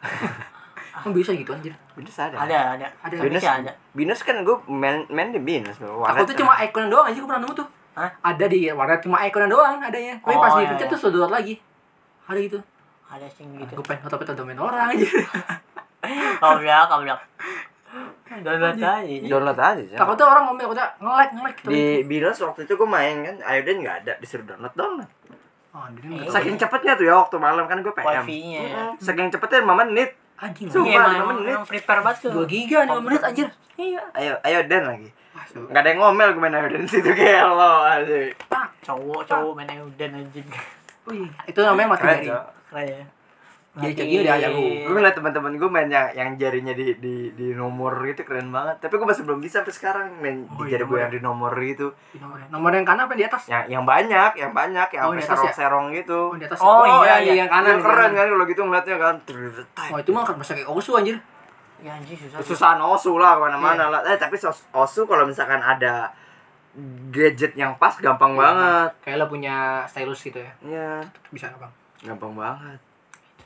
S1: Ah.
S2: Kan bisa gitu anjir.
S3: binus ada
S1: Ada ada.
S2: Ada.
S1: Tapi
S3: binus
S1: sih ada.
S3: binus kan gua main main di binus kan. loh
S2: Aku tuh cuma icon doang aja gue pernah nemu tuh.
S1: ya? Hah?
S2: Ada di warnet cuma icon doang adanya. Tapi pas
S1: Oh, iya,
S2: dipencet
S1: iya.
S2: tuh sedot lagi. Ada gitu.
S1: Ada sih gitu.
S2: Gue pengen foto-foto domain orang aja.
S1: Kau bilang kau bilang. Download aja.
S3: download aja
S1: Iya.
S3: sih
S2: Takutnya orang ngomel, takutnya nge-lag, nge-lag gitu.
S3: di binus waktu itu gua main kan Ayodan nggak ada disuruh download download
S2: Oh, dia nggak tahu.
S3: Saking cepetnya tuh ya waktu malam kan gue PM.
S1: Wifi-nya ya.
S3: Mm-mm. Saking cepetnya 5 menit.
S2: Anjing,
S3: Sumpah,
S1: Iya emang-
S3: lima
S1: emang
S3: menit.
S1: emang prepare banget tuh.
S2: 2 giga nih, 5 menit anjir. Iya.
S3: Ayo ayo dan lagi.
S2: Ah, so-
S3: Gak ada yang ngomel gue main ayo dan situ kayak lo asik.
S1: Cowok cowok main Elden anjing.
S2: Wih, itu namanya mati
S3: Keren
S2: jari.
S3: Cok.
S1: Keren ya.
S2: Jadi jadinya udah jago.
S3: Gue Iya, ngeliat teman-teman gue main yang, yang jarinya di, di di nomor gitu keren banget. Tapi gue masih belum bisa sampai sekarang main di
S2: Oh, iya,
S3: jari gue
S2: nomor.
S3: yang di nomor gitu.
S2: Nomor- Nomor yang kanan apa yang di atas?
S3: Yang yang banyak, yang banyak, yang
S2: Oh,
S3: sampai
S2: di atas ya?
S3: serong-serong gitu.
S2: Oh, di atas.
S1: Oh, iya, iya.
S2: yang kanan.
S3: Iya, keren
S2: yang kanan.
S3: kan kalau gitu ngeliatnya kan.
S2: Oh, itu mah kan bisa kayak osu anjir.
S1: Ya anjing susah.
S3: susahan osu
S2: Iya.
S3: lah kemana-mana lah eh tapi sos- osu kalau misalkan ada gadget yang pas gampang
S2: Iya.
S3: banget
S2: Kayak lo punya stylus gitu ya.
S3: iya
S2: Bisa apa?
S3: gampang banget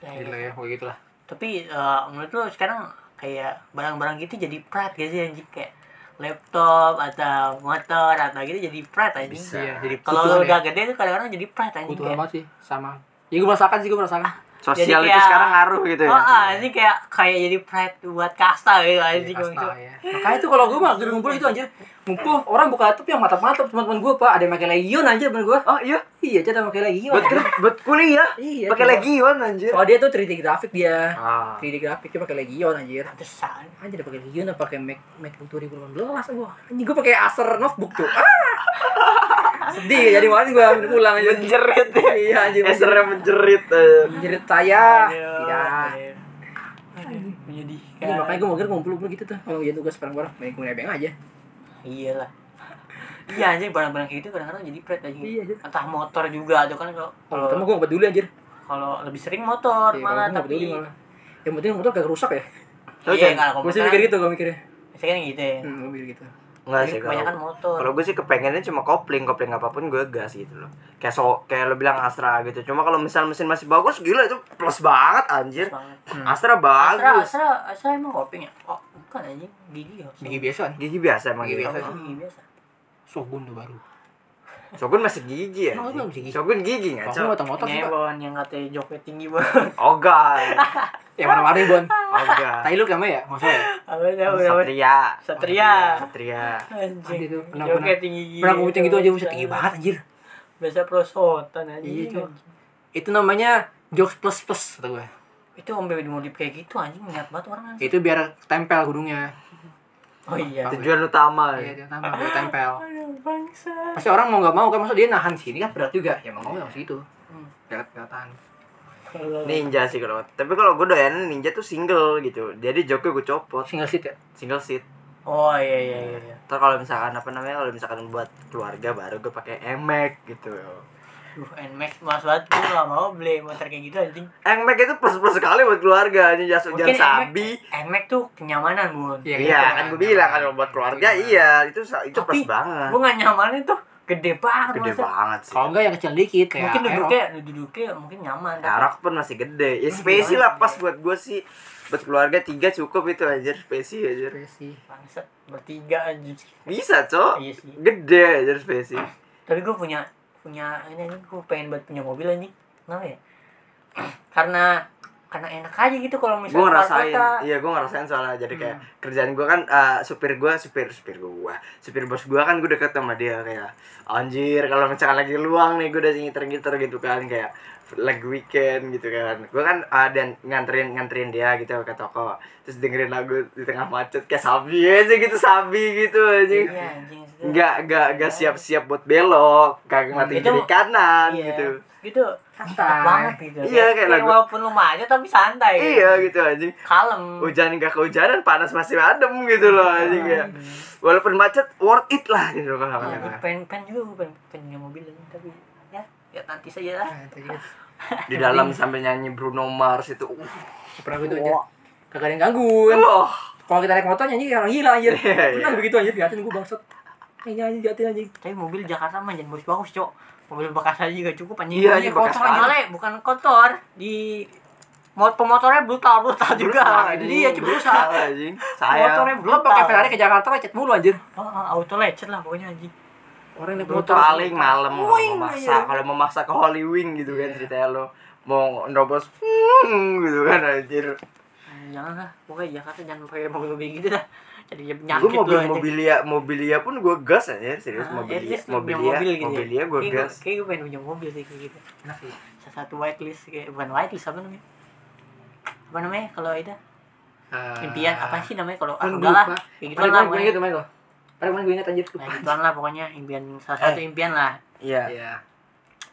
S1: Ya,
S2: Gitu
S1: ya.
S2: ya, kayak gitu lah.
S1: tapi eh, menurut lo sekarang kayak barang-barang gitu jadi pride gak sih anjing kayak laptop atau motor atau gitu jadi pride anjing
S3: Bisa.
S2: Iya, jadi
S1: kalau
S2: kebutuhan
S1: lo
S2: ya.
S1: udah gede tuh kadang-kadang jadi pride anjing
S2: Kebutuhan
S1: kayak
S2: banget sih, sama. Ya gue merasakan sih, gue merasakan.
S1: Ah,
S3: sosial
S1: Jadi
S3: itu
S1: kayak-
S3: sekarang ngaruh gitu ya
S1: Oh, ah, ini kayak kayak jadi pride buat kasta gitu anjing.
S2: Astaga, ya. Makanya tuh kalau gue mah dulu ngumpul itu anjir. Ngumpul orang buka laptop yang mata-mata teman-teman gue, Pak. Ada yang pakai Legion anjir teman gue.
S3: oh iya
S2: Iya, aja ada yang pakai Legion.
S3: buat ker- buat kuliah
S2: Iya,
S3: pakai
S2: cuma-
S3: legion anjir
S2: Soalnya dia tuh 3D grafik dia.
S3: ah
S2: 3D grafiknya pakai Legion anjir.
S1: Pantesan.
S2: Anjir dia pakai Legion apa pakai Mac MacBook 2018 gua. Anjing gua pakai Acer notebook tuh. Ah! Sedih jadi kemarin gua ambil pulang aja.
S3: menjerit ya
S2: Iya anjir.
S3: esernya menjerit eh.
S2: Menjerit saya. Iya.
S1: Aduh,
S2: Tidak.
S1: aduh. Aduh, menyedihkan.
S2: Ini makanya gua mau kira ngumpul-ngumpul gitu tuh. Kalau ngerjain tugas bareng-bareng, main kuliah beng aja.
S1: Iyalah. Iya anjing barang-barang kayak gitu kadang-kadang jadi pride anjing.
S2: Iya, iya.
S1: Entah motor juga tuh kan kalau
S2: Kalau
S1: kalau
S2: mah gua ngobat dulu anjir.
S1: kalau lebih sering motor
S2: Iya, kalau
S1: malah
S2: gua nggak peduli
S1: tapi
S2: malah. Yang penting motor Iya. kagak rusak ya.
S3: Terus
S1: iya
S3: yang-
S1: kan
S4: Gue sih mikir gitu, gue mikirnya.
S1: Saya kan gitu ya.
S4: Hmm, gue mikir gitu.
S3: Enggak
S1: Jadi
S3: sih
S1: kebanyakan
S3: kalau
S1: motor.
S3: kalau gue sih kepengennya cuma kopling kopling apapun gue gas gitu loh kayak so kayak lo bilang Astra gitu cuma kalau misal mesin masih bagus gila itu plus banget anjir
S1: Banget. Astra,
S3: Astra bagus
S1: Astra, Astra emang koping ya? Oh, bukan anjing, gigi ya.
S2: Gigi biasa nih.
S3: gigi biasa emang
S2: Gigi
S3: gigi
S2: biasa.
S1: Gigi biasa.
S2: Sogun tuh baru.
S3: Shogun masih gigi ya
S2: Emang lu masih gigi?
S3: Shogun gigi
S2: Aku mau
S3: ngaco
S2: potong otak sih, Pak.
S1: Ngebon yang katanya joknya tinggi banget.
S3: Ogan
S2: Ya warna-warni, Bon.
S3: Ogan
S2: Tai lu kamu ya? Enggak usah ya?
S1: Apa tahu namanya?
S3: Satria
S1: Satria.
S3: Satria
S1: Anjing.
S2: Gitu, pernah-
S1: Joknya
S2: pernah-
S1: tinggi gitu.
S2: Pernah gue kucing gitu aja buset tinggi banget anjir.
S1: Biasa prosotan anjing.
S2: Iya, cuy. Itu namanya jokes plus plus kata gue.
S1: Itu ombe dimodif kayak gitu anjing niat banget orang anjing.
S2: Itu biar tempel gedungnya.
S1: Oh iya.
S3: tujuan utama
S2: Iya, dia tambah biar tempel.
S1: Aduh bangsa.
S2: Pasti orang mau nggak mau kan maksud dia nahan sini kan berat juga. Ya mau nggak mau situ.
S1: Hmm.
S2: Berat beratan.
S1: Kalau
S3: ninja sih kalau tapi kalau gue doyan ninja tuh single gitu jadi joknya gue copot
S2: Single seat ya.
S3: single seat
S1: Oh iya iya iya. iya.
S3: Ntar kalau misalkan apa namanya kalau misalkan buat keluarga baru gue pakai emek gitu
S1: Duh, Nmax mas banget gue gak mau beli motor kayak gitu anjing.
S3: emek itu plus plus sekali buat keluarga aja jas hujan
S1: Mungkin Ya,
S3: sabi
S1: Nmax tuh kenyamanan bun.
S2: Iya,
S3: iya kan gue bilang kan kalau buat keluarga iya itu sa- itu
S1: Tapi,
S3: plus banget
S1: Gue gak nyamannya tuh gede banget.
S3: gede
S1: masa.
S3: banget Ya, sih
S2: Kalau enggak yang kecil dikit kayak
S1: Mungkin
S2: Aerox.
S1: duduknya, duduknya mungkin nyaman. tapi-
S3: Arak pun masih gede. Ya, spesi lah pas buat gue sih. Buat keluarga tiga cukup itu anjir. Spesi anjir.
S2: Presi.
S1: Bangsat, bertiga anjing.
S3: Bisa, Cok.
S1: Iya sih.
S3: Gede anjir spesi.
S1: Tapi gue punya punya ini anjing gue pengen banget punya mobil anjing. Kenapa ya? karena karena enak aja gitu kalau misalnya
S3: Gue
S1: keluar
S3: ngerasain.
S1: kota.
S3: Iya, gue ngerasain soalnya jadi
S1: Hmm.
S3: kayak kerjaan gue kan eh, supir gue, supir supir gue. Supir bos gue kan gue deket sama dia kayak anjir kalau misalkan lagi luang nih gue udah ngiter-ngiter gitu kan kayak leg weekend gitu kan gue kan eh, dan nganterin nganterin dia gitu ke toko terus dengerin lagu di tengah macet kayak sabi aja gitu sabi gitu anjing
S1: Iya anjing. maksudnya.
S3: nggak nggak nggak siap-siap buat belok kagak mati
S1: Itu-
S3: kiri kanan
S1: Hmm. Iya.
S3: gitu
S1: Gitu. Enak banget gitu. Kayak-
S3: Iya, kayak lagu-
S1: walaupun lumanya tapi santai.
S3: iya Oh, gitu anjing
S1: Kalem.
S3: hujan nggak kehujanan panas masih adem gitu loh
S1: Ah,
S3: anjing
S1: iya.
S3: ya walaupun macet worth it lah gitu kalau
S1: Nah,
S3: kata
S1: gue
S3: gue.
S1: pengen, pengen juga gue pengen, pengen punya mobil anjing, tapi ya ya nanti saja lah.
S2: Nah,
S3: Iya.
S2: itu juga.
S3: di dalam sambil nyanyi Bruno Mars itu uh,
S2: Pernah gue tuh aja. Kagak ada yang gangguin.
S3: wah
S2: Kalau kita naik motor nyanyi orang gila anjir.
S3: Iya, iya.
S2: Pernah begitu anjir diatin gue bangsat. Nyanyi nyanyi diatin anjing.
S1: Tapi mobil Jakarta mah jangan bagus-bagus, Cok. Mobil bekas aja juga cukup anjing.
S3: Iya,
S1: Ini
S3: ini bekas
S1: kotor
S3: banget.
S1: soalnya bukan kotor di mot pemotornya brutal brutal juga.
S3: iya.
S2: itu
S1: Jadi
S2: dia,
S1: ya
S2: cuy.
S1: cuma
S3: berusaha anjing saya
S1: Motornya
S2: Lo pakai Ferrari ke Jakarta macet mulu anjir.
S1: oh, oh, auto lecet lah pokoknya anjing.
S2: Orang naik
S3: Lu
S2: motor.
S3: paling malam kalau
S1: Wing,
S3: mau maksa
S1: iya.
S3: kalau mau maksa ke Holy Wing gitu kan ceritanya lo mau nerobos hmm, gitu kan anjir
S1: Eh, Jangan lah, pokoknya Jakarta jangan pakai mobil mobil gitu dah. Jadi ya penyakit
S3: gue mobil
S1: lu, anjing.
S3: mobilia mobilia pun gue gas aja serius
S1: Ah, at
S3: mobilia
S1: least lu punya
S3: mobilia
S1: gitu ya.
S3: mobilia gue
S1: Kayak
S3: gas Iya.
S1: Kayak gue pengen punya mobil sih kayak gitu.
S2: Enak sih.
S1: Salah satu whitelist kayak bukan whitelist apa namanya? Apa namanya kalau itu?
S2: Eh,
S1: Impian apa sih namanya kalau ah,
S2: Ah. Kan
S1: enggak lah.
S2: lupa.
S1: Kayak gitu
S2: Gitu lah
S1: lah.
S2: gue
S1: pokoknya.
S2: inget main lo. Padahal kemarin gue inget anjir.
S1: Nah, gituan lah pokoknya impian salah satu impian lah.
S3: iya
S2: Iya.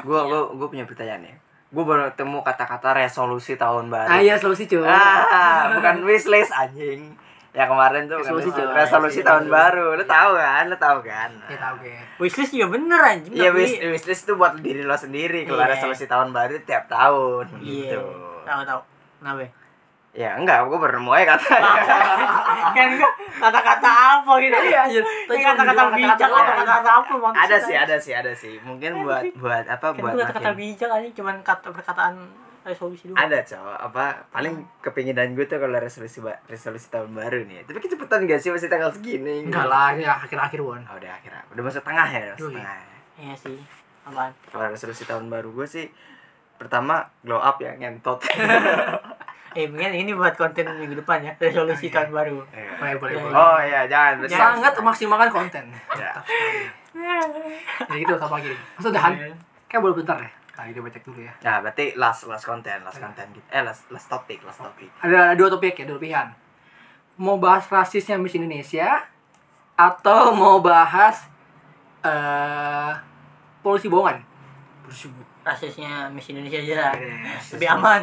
S3: gue gue gue punya pertanyaan nih gue baru ketemu kata-kata resolusi tahun baru
S2: Ah iya solusi cuy.
S3: ah bukan wishlist anjing ya kemarin tuh bukan
S2: Resolusi,
S3: wishlist.
S2: cuy.
S3: resolusi
S2: Resolusi.
S3: tahun baru lo tau kan lo tau kan
S2: Ya tahu gue.
S1: Wishlist juga bener anjing.
S3: Iya
S1: tapi-
S3: wish, wishlist tuh buat diri lo sendiri kalau
S1: Iya.
S3: resolusi tahun baru tiap tahun
S1: Iya.
S3: gitu
S1: Tahu tahu. Kenapa?
S3: ya enggak gue baru nemu aja katanya
S1: kan gua kata-kata apa gitu. Iya anjir.
S2: Tadi
S1: Kata-kata
S2: kan
S1: bijak
S2: kata-kata
S1: lah,
S2: apa?
S1: kata-kata apa maksudnya?
S3: ada sih ada sih ada sih mungkin buat buat apa
S1: Kan
S3: buat
S1: itu kata-kata
S3: makin-
S1: bijak aja cuman kata perkataan resolusi doang.
S3: ada cowok apa paling kepinginan gue tuh kalau resolusi ba- resolusi tahun baru nih tapi kecepatan gak sih masih tanggal segini gitu.
S2: Enggak lah, ini akhir-akhir won.
S3: oh, udah akhirnya udah masuk tengah ya udah masuk
S2: Yoi.
S3: tengah ya.
S1: Iya sih. Apaan?
S3: kalau resolusi tahun baru gue sih pertama glow up ya ngentot
S1: Eh, mungkin ini buat konten minggu depan ya, resolusi tahun baru.
S2: Boleh boleh boleh. ya.
S3: oh iya jangan berarti-
S2: Sangat memaksimalkan konten.
S3: Ya.
S2: Jadi gitu sama gini. Maksud udahan.
S1: Iya.
S2: Kayak boleh bentar ya. Tadi dia cek dulu ya.
S3: nah berarti last last konten last konten gitu eh last last topik last topik
S2: Ada ada dua topik ya, dua pilihan. Mau bahas rasisnya Miss Indonesia atau mau bahas eh polisi bohongan.
S1: Rasisnya Miss Indonesia aja lah. Lebih aman.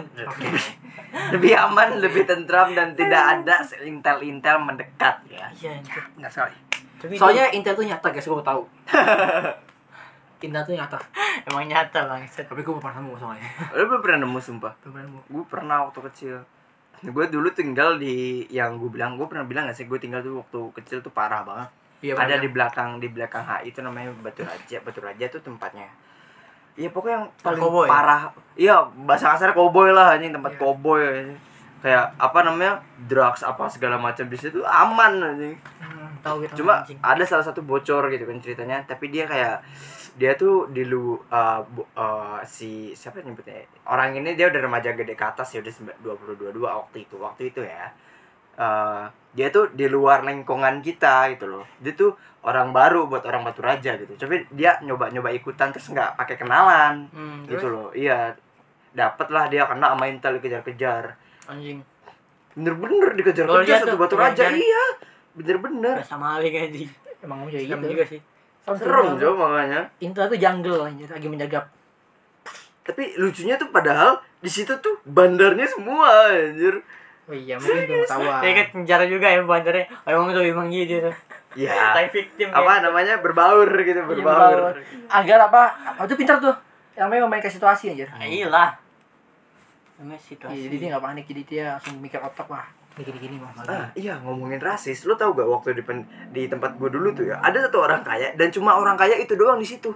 S3: lebih aman lebih tentram dan tidak ada intel intel mendekat ya
S1: Iya, anjir.
S2: Benar sekali.
S1: Tapi itu
S2: Soalnya Intel tuh nyata guys, gue tahu. Intel tuh nyata.
S1: emang nyata, Bang. Set.
S2: Tapi gue pernah nemu soalnya.
S3: lu belum pernah nemu sumpah
S2: Belum pernah nemu.
S3: gue pernah waktu kecil gue dulu tinggal di yang gue bilang gue pernah bilang gak sih gue tinggal tuh waktu kecil tuh parah banget
S2: Iya,
S3: ada
S2: bener.
S3: di belakang di belakang HI itu namanya Batu Raja Batu Raja tuh tempatnya Iya pokoknya yang paling
S1: Narkoboy.
S3: parah iya bahasa kasar koboi lah anjing tempat koboi anjing. kayak apa namanya drugs apa segala macam di situ aman anjing
S1: tahu gitu
S3: cuma
S1: anjing.
S3: ada salah satu bocor gitu kan ceritanya tapi dia kayak dia tuh di lu uh, bu- uh, si siapa nyebutnya orang ini dia udah remaja gede ke atas ya udah sembi- 22 22 waktu itu waktu itu ya Uh, dia tuh di luar lingkungan kita gitu loh dia tuh orang baru buat orang batu raja gitu tapi dia nyoba nyoba ikutan terus nggak pakai kenalan
S1: Hmm,
S3: gitu loh iya dapet lah dia kena sama intel dikejar-kejar
S1: anjing Lo
S3: bener-bener
S1: lihat
S3: dikejar-kejar satu
S1: tuh,
S3: batu raja
S1: kejar-kejar.
S3: iya bener-bener
S1: berasa maling anjing
S4: Emang kamu jadi gitu.
S1: Serem kan, juga sih
S3: serem jauh makanya
S4: Intel tuh jungle anjir, lagi menjaga
S3: tapi lucunya tuh padahal di situ tuh bandarnya semua anjir
S4: Oh iya, mungkin belum tahu.
S1: dia kan penjara juga ya bandarnya emang tuh emang gitu tuh
S3: ya
S1: victim
S3: apa namanya berbaur gitu berbaur
S4: Berbaur. Agar apa? Apa tuh pintar tuh? Yang memang main ke situasi anjir.
S2: Ah,
S1: nah,
S2: iya,
S1: iyalah namanya
S4: Iya,
S1: situasi
S4: jadi dia nggak panik, jadi dia langsung mikir otak wah ini gini gini mah.
S3: ah, iya ngomongin rasis lu tau gak waktu di pen- di tempat gua dulu tuh ya ada satu orang kaya dan cuma orang kaya itu doang di situ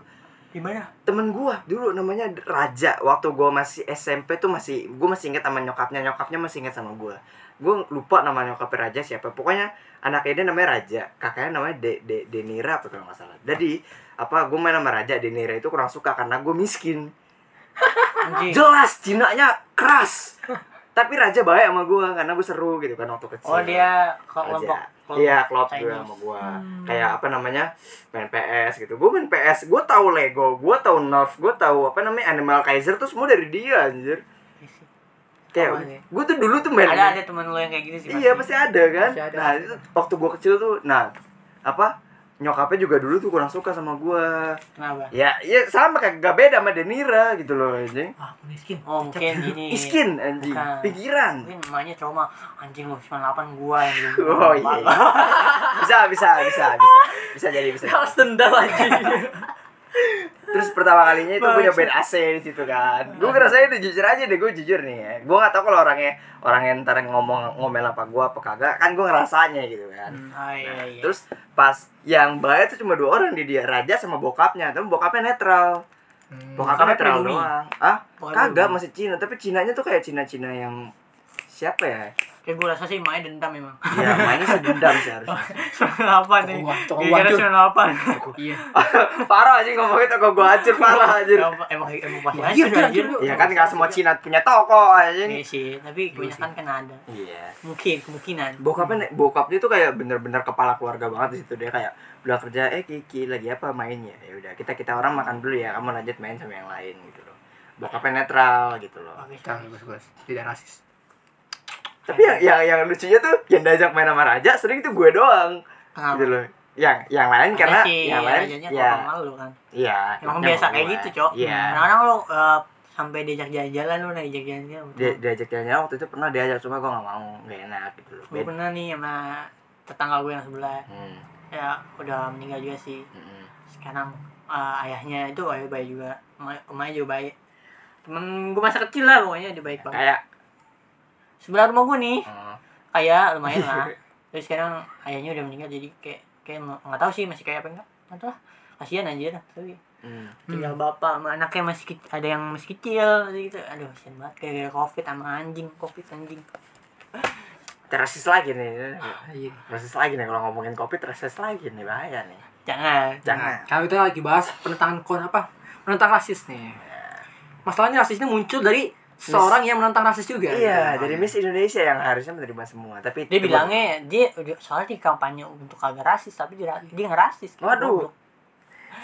S1: gimana
S3: temen gua dulu namanya Raja waktu gua masih SMP tuh masih gua masih inget sama nyokapnya nyokapnya masih inget sama gua gua lupa nama nyokapnya Raja siapa pokoknya anaknya dia namanya Raja kakaknya namanya De, De- Denira apa kalau nggak salah jadi apa gua main sama Raja Denira itu kurang suka karena gua miskin Ah,
S1: anjing
S3: jelas cinanya keras tapi Raja baik sama gua karena gua seru gitu kan waktu kecil
S1: oh dia kok
S3: aja.
S1: kelompok kelompok
S3: Iya, klop gue
S1: Chinese. Hmm.
S3: sama gue. Kayak apa namanya? main PS gitu. Gue main PS, gue tahu Lego, gue tahu Nerf, gue tahu apa namanya? Animal Kaiser tuh semua dari dia anjir.
S1: Sama sih.
S3: Kayak gue tuh dulu tuh main.
S1: ada ada teman lo yang kayak gitu sih
S3: Iya, pasti ada kan?
S4: Pasti ada.
S3: Nah, itu waktu gue kecil tuh nah apa? Nyokapnya juga dulu tuh kurang suka sama gue.
S1: kenapa
S3: Ya, ya sama kayak gak beda sama Denira gitu loh anjing.
S4: Wah, Ah, miskin.
S1: oh mungkin gini
S3: Miskin anjing,
S1: Bukan.
S3: pikiran.
S1: mungkin emaknya trauma anjing lu 98 gua yang dulu
S3: Oh iya. bisa, bisa, bisa, bisa. Bisa jadi bisa. jadi.
S1: harus dendam anjing
S4: Iya.
S3: Terus pertama kalinya itu gue nyobain AC di situ kan. Gue ngerasain udah jujur aja deh, gue jujur nih ya. Gue gak tau kalau orangnya orangnya ntar ngomong ngomel apa gue apa kagak, kan gue ngerasanya gitu kan.
S1: oh iya
S3: Nah,
S1: iya
S3: Terus pas yang baik itu cuma dua orang di dia raja sama bokapnya, tapi bokapnya netral.
S1: Bokapnya
S3: Bokapnya netral
S1: pribumi.
S3: doang. Ah,
S1: Bokapnya
S3: kagak
S1: pribumi.
S3: masih Cina, tapi Cinanya tuh kayak Cina-Cina yang siapa ya?
S1: kayak gua rasa sih emaknya dendam emang
S3: Ya, mainnya sedendam sih harusnya.
S1: 98 nih
S2: Tukang uang, tukang uang,
S1: iya. gara-gara
S2: cuy.
S1: 98
S4: Iya.
S3: parah aja ngomongin toko gue hancur parah anjir.
S1: emang emang emang pasti
S4: Iya,
S1: hancur
S4: iya,
S1: anjir
S4: iya.
S3: Iya kan gak semua Cina punya toko anjing.
S1: Iya sih, tapi kebanyakan kan ada.
S3: Iya.
S1: Mungkin, kemungkinan.
S3: bokapnya bokapnya tuh kayak bener-bener kepala keluarga banget di situ dia kayak udah kerja eh kiki lagi apa mainnya ya udah kita kita orang makan dulu ya kamu lanjut main sama yang lain gitu loh bokapnya netral gitu loh
S1: Bagus.
S2: Jangan bebas-bebas. Tidak rasis.
S3: tapi yang yang, yang lucunya tuh yang diajak main sama raja sering tuh gue doang
S1: Kenapa?
S3: gitu loh yang yang lain karena
S1: si
S3: yang lain
S1: Ah. rajanya
S3: ya
S1: kalau malu kan.
S3: iya
S1: Emang
S3: yang
S1: biasa
S3: gue.
S1: kayak gitu, Cok.
S3: iya
S1: Kadang-kadang lo eh, sampai diajak jalan-jalan lo nah diajak jalan-jalan.
S3: dia diajak jalan waktu itu pernah diajak cuma gue gak mau gak enak gitu loh
S1: Gue
S3: Beda.
S1: pernah nih sama tetangga gue yang sebelah.
S3: Hmm,
S1: Ya udah meninggal juga sih.
S3: hmm.
S1: Sekarang eh, ayahnya itu ayah baik juga. Emak- Emaknya juga baik. Temen gue masa kecil lah pokoknya dia baik banget.
S3: kayak
S1: Sebelah rumah gue nih,
S3: hmm,
S1: kayak lumayan lah. Terus sekarang ayahnya udah meninggal jadi kayak kayak nggak tahu sih masih kayak apa enggak. Nggak tahu. lah. Kasihan anjir tapi
S3: hmm.
S1: tinggal bapak sama anaknya masih kecil, ada yang masih kecil gitu aduh kasihan banget gara-gara covid sama anjing covid anjing
S3: Terasis lagi nih
S4: Ah,
S2: Iya.
S3: Rasis lagi nih kalau ngomongin kopi rasis lagi nih bahaya nih.
S1: jangan
S3: Jangan.
S2: Nah, Kalau kita lagi bahas penentangan kon apa? Menentang rasis nih. Masalahnya rasis ini muncul dari seorang yang menentang rasis juga.
S3: Iya, dari Miss Indonesia yang harusnya menerima semua, tapi
S1: dia
S3: itu-
S1: bilangnya dia udah soalnya dia kampanye untuk kagak rasis tapi dia, dia ngerasis
S3: Waduh.
S1: Goblok.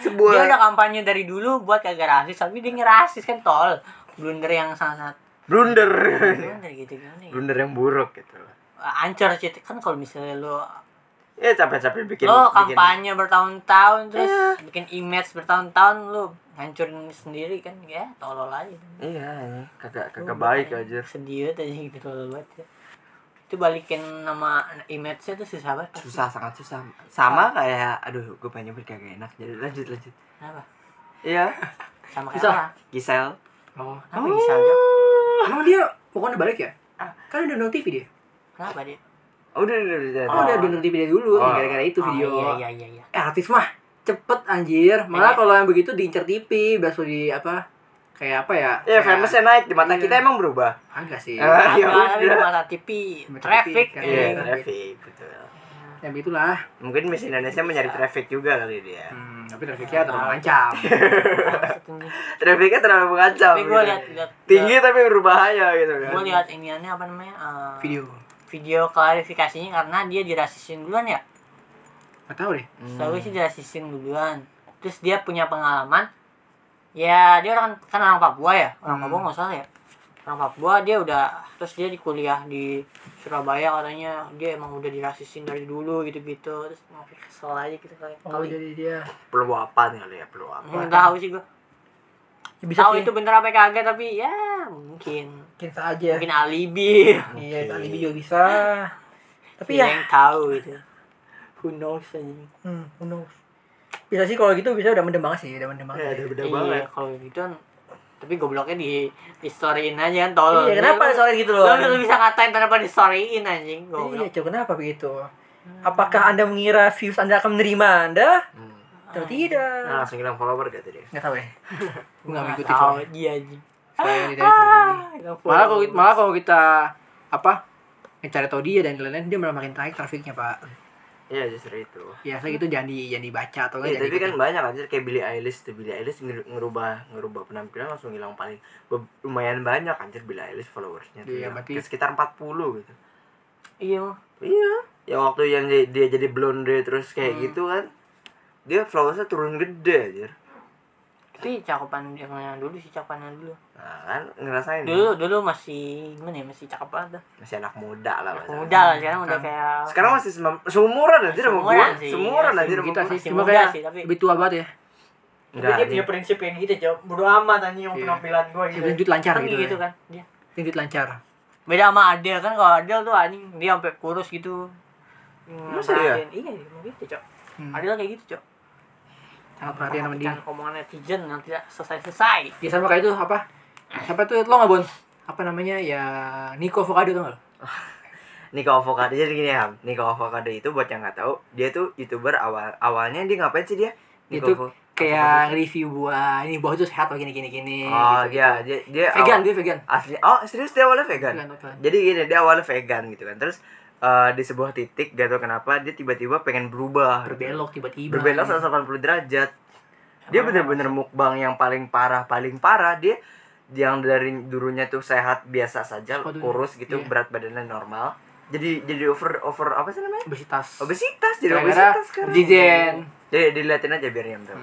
S3: sebuah
S1: dia udah kampanye dari dulu buat kagak rasis tapi dia ngerasis kan tol blunder yang sangat
S3: blunder.
S1: blunder gitu kan
S3: blunder yang buruk gitu.
S1: ancur sih kan kalau misalnya lo
S3: Ya capek-capek bikin Iya.
S1: lo
S3: bikin-
S1: kampanye bertahun-tahun terus bikin image bertahun-tahun lo hancurin sendiri kan ya tolol aja
S3: Iya, iya. kagak kagak baik aja.
S1: sedih banget aja gitu loh banget ya. itu balikin nama image-nya tuh susah banget
S3: Susah, sangat susah. Sama kayak aduh, gue pengen nyebut kagak enak. Jadi lanjut lanjut.
S1: kenapa
S3: Iya,
S1: sama kayak
S2: Susah.
S1: apa
S3: Gisel.
S2: Oh.
S1: apa bisa aja
S2: Emang dia pokoknya balik ya?
S1: Ah.
S2: kan udah no TV dia
S1: Kenapa dia?
S3: Udah, udah, udah.
S2: oh, udah udah no TV dia dulu
S3: Oh.
S2: gara-gara itu
S1: Oh,
S2: video
S1: Ah. Iya iya iya. iya.
S2: eh artis mah cepet anjir malah
S1: Iya.
S2: kalau yang begitu diincar TV biasa di apa kayak apa ya
S3: Ya,
S1: Iya,
S2: Kayak-
S3: famousnya naik di mata
S2: Iya.
S3: kita emang berubah.
S2: agak sih
S3: Eh. Ah, ya
S1: Apa, tapi
S3: udah.
S1: mata TV, traffic.
S2: Iya.
S1: eh.
S3: Iya, traffic betul.
S2: ya begitulah
S3: Mungkin Miss Indonesia
S1: Iya.
S3: mencari traffic juga kali dia.
S2: hmm, tapi
S1: Ah.
S2: trafiknya terlalu lancar
S3: Trafficnya terlalu mengancam.
S1: Tapi gue
S3: gitu.
S2: Iya.
S1: lihat lihat
S3: tinggi tapi berbahaya gitu kan.
S1: Gue lihat iniannya apa namanya? eh,
S2: video
S1: video klarifikasinya karena dia dirasisin duluan ya.
S2: Hmm. nggak tahu deh
S3: Hmm.
S1: Selalu sih dirasisin duluan. Terus dia punya pengalaman. Ya dia orang kan orang Papua ya, orang
S2: Hmm.
S1: Papua nggak salah ya. Orang Papua dia udah terus dia di kuliah di Surabaya katanya dia emang udah dirasisin dari dulu gitu-gitu terus makin kesel aja gitu kayak
S2: oh jadi dia
S3: Peluapan kali ya, peluapan.
S1: nggak tahu sih gue
S2: ya bisa
S1: tahu
S2: sih
S1: itu bener apa kagak tapi ya mungkin
S2: mungkin saja
S1: mungkin alibi
S2: iya tadi juga bisa tapi
S1: Dia
S2: ya
S1: yang tahu gitu who knows aja
S2: hmm, who knows. bisa sih kalau gitu bisa udah mendem banget sih udah mendem
S3: Ya,
S2: banget
S3: udah beda
S1: iya
S3: banget.
S1: kalau gitu kan tapi gobloknya di di storyin aja kan tolol
S2: iya kenapa
S1: Lu-
S2: soalnya gitu
S1: lu
S2: loh
S1: lu bisa ngatain tanpa di storyin anjing
S2: Iya,
S1: goblok
S2: coba kenapa Nah. begitu? Apakah Anda mengira views Anda akan menerima Anda?
S3: Hmm.
S2: Atau tidak?
S3: Nah, langsung hilang follower dia tadi.
S2: Nggak tahu ya. Gue nggak mengikuti
S1: tahu
S2: soalnya.
S1: dia anjing
S2: Soalnya dia dari
S1: Ah,
S2: Malah kalau kita, malah kalau kita apa? Mencari tahu dia dan lain-lain dia malah makin naik trafiknya pak.
S3: Iya, justru itu.
S2: Ya saya gitu jangan di jangan dibaca atau gitu. nggak
S3: Iya,
S2: jangan
S3: tapi kan
S2: diikuti.
S3: banyak aja kayak Billie Eilish tuh Billie Eilish ngeru- ngerubah ngerubah penampilan langsung hilang paling be- lumayan banyak anjir Billie Eilish followersnya tuh.
S2: Iya,
S3: hilang.
S2: berarti-
S3: Kayak sekitar 40 gitu.
S1: iya
S3: Iya. Ya waktu yang dia, dia jadi blonde terus
S1: Hmm.
S3: kayak gitu kan. Dia followersnya turun gede anjir.
S1: tapi cakupan yang yang dulu sih cakupan yang dulu
S3: Nah, kan ngerasain
S1: dulu dulu masih gimana ya masih cakep banget dah.
S3: masih anak muda lah
S1: Anak
S3: masa.
S1: muda lah sekarang udah kayak
S3: Sekarang masih semam- seumuran anjir
S1: Seumuran
S3: sama gua.
S1: sih,
S3: Seumuran
S1: iya,
S3: anjir sama
S2: kita
S3: gua.
S2: sih
S1: masih
S2: cuma
S1: muda
S2: kayak
S1: sih, tapi-
S2: lebih tua banget ya.
S4: Tapi dia
S3: Enggak,
S4: punya
S3: anjir.
S4: prinsip yang gitu, Cok. Bodo amat anjing
S2: Iya.
S4: penampilan gue gitu.
S2: Lebih duit lancar
S1: kan
S2: gitu.
S1: gitu
S2: ya.
S1: kan dia
S2: Duit lancar.
S1: beda sama Adele kan kalau Adele tuh anjing dia sampai kurus gitu
S3: Masa dia?
S1: Perhatiin. iya emang gitu cok
S2: Hmm.
S1: Adele kayak gitu cok
S2: Sangat
S3: Iya,
S2: perhatian sama dia.
S1: Perhatikan omongan netizen yang tidak selesai selesai
S2: Ya sama kayak itu apa? Siapa tuh lo nggak bon? Apa namanya ya Nico Avocado tuh nggak? lo?
S3: Nico Avocado jadi gini ya Nico Avocado itu buat yang nggak tahu dia tuh youtuber awal awalnya dia ngapain sih dia
S2: Dia
S3: Nico
S2: tuh
S3: Avo-
S2: kayak review buah ini buah itu sehat atau gini gini gini
S3: oh
S2: gitu.
S3: dia dia, dia
S2: vegan
S3: awal-
S2: dia vegan
S3: asli oh serius dia awalnya vegan
S2: Vegan, vegan.
S3: jadi gini dia awalnya vegan gitu kan terus eh, di sebuah titik gak tau kenapa dia tiba-tiba pengen berubah
S2: berbelok tiba-tiba
S3: berbelok 180 derajat dia bener-bener mukbang yang paling parah paling parah dia yang dari dulunya tuh sehat biasa saja
S2: Sepatunya.
S3: kurus
S2: Iya.
S3: gitu berat badannya normal jadi jadi over over apa sih namanya
S2: obesitas
S3: obesitas jadi
S2: gara-gara
S3: obesitas sekarang
S2: dijen
S3: jadi diliatin aja biar yang tahu.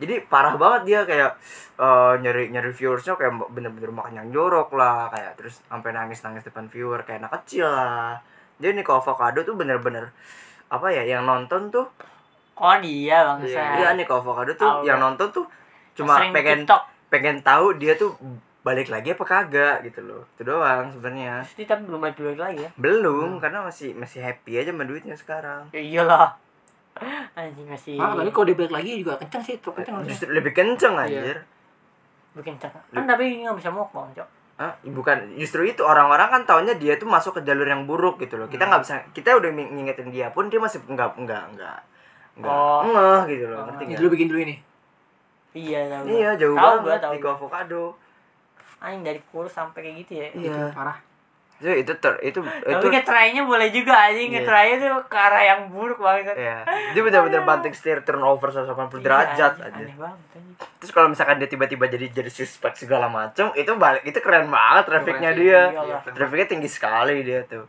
S3: Jadi parah banget dia kayak eh, nyari nyari viewersnya kayak bener-bener makan yang jorok lah kayak terus sampai nangis nangis depan viewer kayak anak kecil lah. Jadi Nico Avocado tuh bener-bener apa ya yang nonton tuh
S1: oh dia bangsa
S3: iya Nico Avocado tuh
S1: Tahu.
S3: yang nonton tuh cuma
S1: Sering
S3: pengen
S1: TikTok
S3: pengen tahu dia tuh balik lagi apa kagak gitu loh itu doang sebenarnya
S1: Terus dia tapi kan belum balik balik lagi ya
S3: belum karena masih masih happy aja sama duitnya sekarang
S1: ya iyalah anjing masih
S2: ah tapi kalau dia balik lagi juga kencang sih tuh
S3: Iya.
S2: kencang harusnya.
S3: justru lebih kenceng
S1: Iya.
S3: anjir
S1: bikin cakep kan tapi nggak bisa mukbang cok
S3: Ah, bukan justru itu orang-orang kan taunya dia tuh masuk ke jalur yang buruk gitu loh.
S1: Hmm.
S3: Kita nggak bisa kita udah ming- ngingetin dia pun dia masih nggak nggak nggak nggak
S1: Oh.
S3: ngeh gitu loh. Ngerti
S2: ini
S3: nggak?
S2: dulu bikin dulu ini
S1: iya tahu gua.
S3: Iya, jauh
S1: tahu gua
S3: banget
S1: tahu
S3: di
S1: gua.
S3: avocado.
S1: anjing dari kurus sampai kayak gitu ya
S2: itu parah
S3: Itu itu ter- itu Iya, itu
S1: tapi ngetrainya boleh juga anjing
S3: Iya.
S1: ngetrainya tuh ke arah yang buruk banget
S3: Iya. Dia benar-benar banting setir turnover 180 derajat
S1: Iya,
S3: aja.
S1: anjing. aneh banget anjing.
S3: Terus kalau misalkan dia tiba-tiba jadi jadi suspek segala macam, itu balik itu keren banget
S1: Iya,
S3: trafiknya
S2: sih,
S3: dia.
S1: iyalah.
S3: Trafiknya tinggi sekali dia tuh.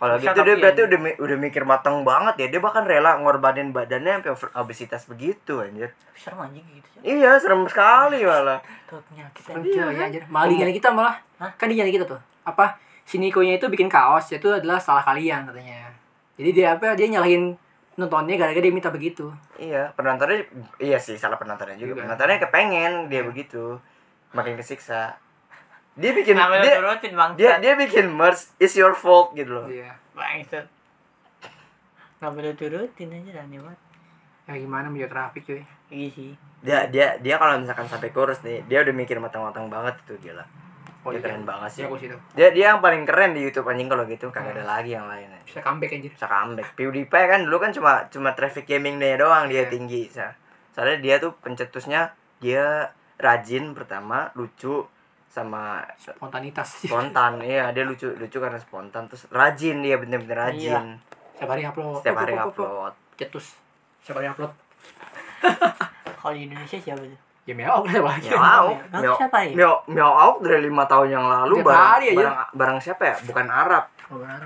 S3: Kalau
S1: Bisa
S3: gitu dia
S1: tapi
S3: berarti
S1: ya.
S3: udah mi- udah mikir matang banget ya. Dia bahkan rela ngorbanin badannya sampai over- obesitas begitu anjir.
S1: Tapi serem anjing gitu Cok.
S3: Iya, serem sekali malah.
S1: Tuh penyakit anjing.
S2: kencang ya anjir malah
S3: Iya.
S2: dijalan kita malah kan dijalan kita tuh apa si Nikonya itu bikin kaos itu adalah salah kalian katanya jadi dia apa dia nyalahin nontonnya gara-gara dia minta begitu
S3: Iya, penontonnya iya sih salah penontonnya juga. Penontonnya kepengen dia begitu. Makin kesiksa. Dia bikin
S1: Kenapa lu
S3: dia,
S1: turutin bang?
S3: dia dia bikin merch is your fault gitu loh.
S2: iya
S1: Bangsat. Kenapa lu turutin aja aneh banget.
S2: ya gimana menjadi trafik cuy
S1: Iya sih.
S3: dia dia dia kalau misalkan sampai kurus nih dia udah mikir matang-matang banget itu gila
S2: Oh, iya.
S3: dia Ya, keren banget sih
S2: Iya, Hmm. aku situ.
S3: dia dia yang paling keren di YouTube anjing kalau gitu kagak ada lagi yang lain anjing.
S2: Bisa comeback anjir.
S3: bisa comeback PewDiePie kan dulu kan cuma cuma traffic gamingnya doang
S2: Iya.
S3: dia tinggi sa. soalnya dia tuh pencetusnya dia rajin pertama lucu sama
S2: Spontanitas.
S3: spontan iya dia lucu lucu karena spontan terus rajin dia bener-bener
S2: Iya.
S3: rajin
S2: Setiap hari upload.
S3: setiap hari
S2: Pop, pop, pop, pop.
S3: upload
S2: Cetus. Setiap hari upload.
S1: Kalau di Indonesia siapa tuh?
S2: Ya meong lah lagi.
S3: Miau,
S1: Bang,
S3: Miau,
S1: siapa ya?
S3: Miau, Miau Auk dari lima tahun yang
S2: Iya.
S3: lalu
S2: Tiap hari
S3: barang,
S2: aja.
S3: barang, barang siapa ya? Bukan Arab,
S2: Oh, benar.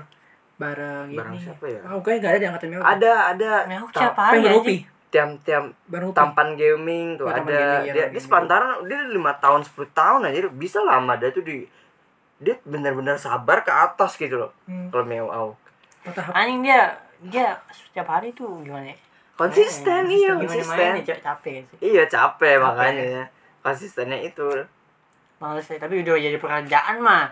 S2: Bareng
S3: barang
S2: ini.
S3: siapa ya?
S4: Ah, kayaknya nggak ada di angkatan Mio.
S3: Ada, ada
S1: Meow
S3: Tam-
S1: siapa
S4: Apa yang
S1: aja?
S4: beropi?
S3: tiam-tiam
S4: Barang upi.
S3: tampan gaming tuh
S2: Oh, Tampan
S3: ada
S2: Gaming, iya,
S3: dia,
S2: Tampan
S3: dia
S2: Gaming.
S3: sepantaran dia lima tahun 10 tahun aja bisa lama dia tuh di dia benar-benar sabar ke atas gitu loh
S4: Hmm.
S3: kalau Miau Auk
S4: Oh, tahap.
S1: Anjing dia dia setiap hari tuh gimana? ya?
S3: konsisten
S1: Eh,
S3: iya
S1: gimana
S3: konsisten
S1: mainnya Cok? capek sih.
S3: iya capek makanya ya. konsistennya itu
S1: Males saya, tapi udah jadi pekerjaan mah.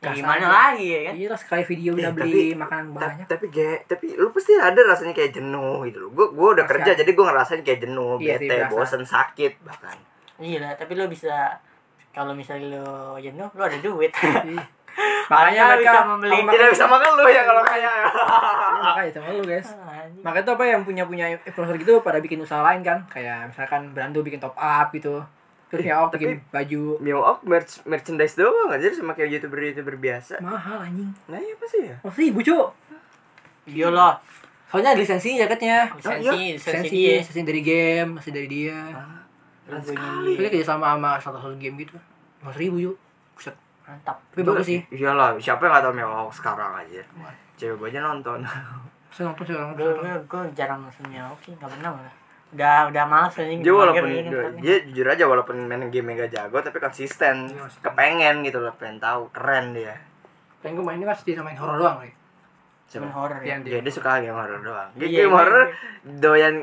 S1: Ya
S2: Kasar
S1: gimana
S2: aja.
S1: lagi ya kan?
S2: Iya lah sekali video udah
S3: Eh,
S2: beli
S3: tapi-
S2: makanan
S3: Ta-
S2: banyak.
S3: tapi ge- tapi lu pasti ada rasanya kayak jenuh gitu loh. Gue gue udah
S2: Pasti
S3: kerja jadi gue ngerasain kayak jenuh,
S2: Iya sih,
S3: bete,
S2: berasa.
S3: bosen, sakit bahkan.
S1: Gila, tapi lo bisa kalau misalnya lo jenuh, lo ada duit.
S2: Iya. Makanya
S1: Makanya
S2: mereka
S1: bisa membeli.
S2: oh,
S3: Tidak
S2: makanya-
S3: bisa makan lu ya kalau kaya.
S2: Makanya sama lu guys.
S1: Anjing.
S2: Makanya tuh apa yang punya punya influencer gitu pada bikin usaha lain kan, kayak misalkan Brando bikin top up gitu. Terus ya
S3: tapi-
S2: bikin baju
S3: Mio Up merch merchandise doang aja sama kayak youtuber youtuber biasa.
S2: mahal anjing.
S3: Nah iya apa sih ya?
S2: Oh sih, Bu Cu.
S1: Iya lo,
S2: Soalnya ada lisensinya jaketnya.
S3: Oh, iya.
S1: sensi, sensi
S2: Oh, Lisensi, Ah,
S1: dia.
S2: lisensi dari game, lisensi dari dia.
S3: Keren
S1: Bunyi.
S3: sekali.
S2: Soalnya kerja sama sama satu-satu game gitu. Mas ribu yuk. Buset.
S1: Mantap.
S2: Tapi bagus sih.
S3: Iyalah, siapa yang gak tau Mio Up sekarang aja. Cewek gue aja nonton.
S2: Saya nonton sih orang
S1: Gue
S2: orang-
S1: gue jarang maksudnya, oke nggak pernah malah. Udah udah malas anjing.
S3: Dia walaupun
S1: mager gitu kan.
S3: dia jujur aja walaupun main game gak jago tapi konsisten.
S2: Iya, maksudnya.
S3: Kepengen gitu loh, pengen tahu keren dia.
S2: Kan gue mainnya kan tidak main horor doang nih.
S1: Cuman
S3: Coba.
S1: horor ya.
S2: Yang Iya, dia.
S3: Jadi suka game horror doang. Dia
S1: Iya,
S3: game
S1: iya,
S3: horror doyan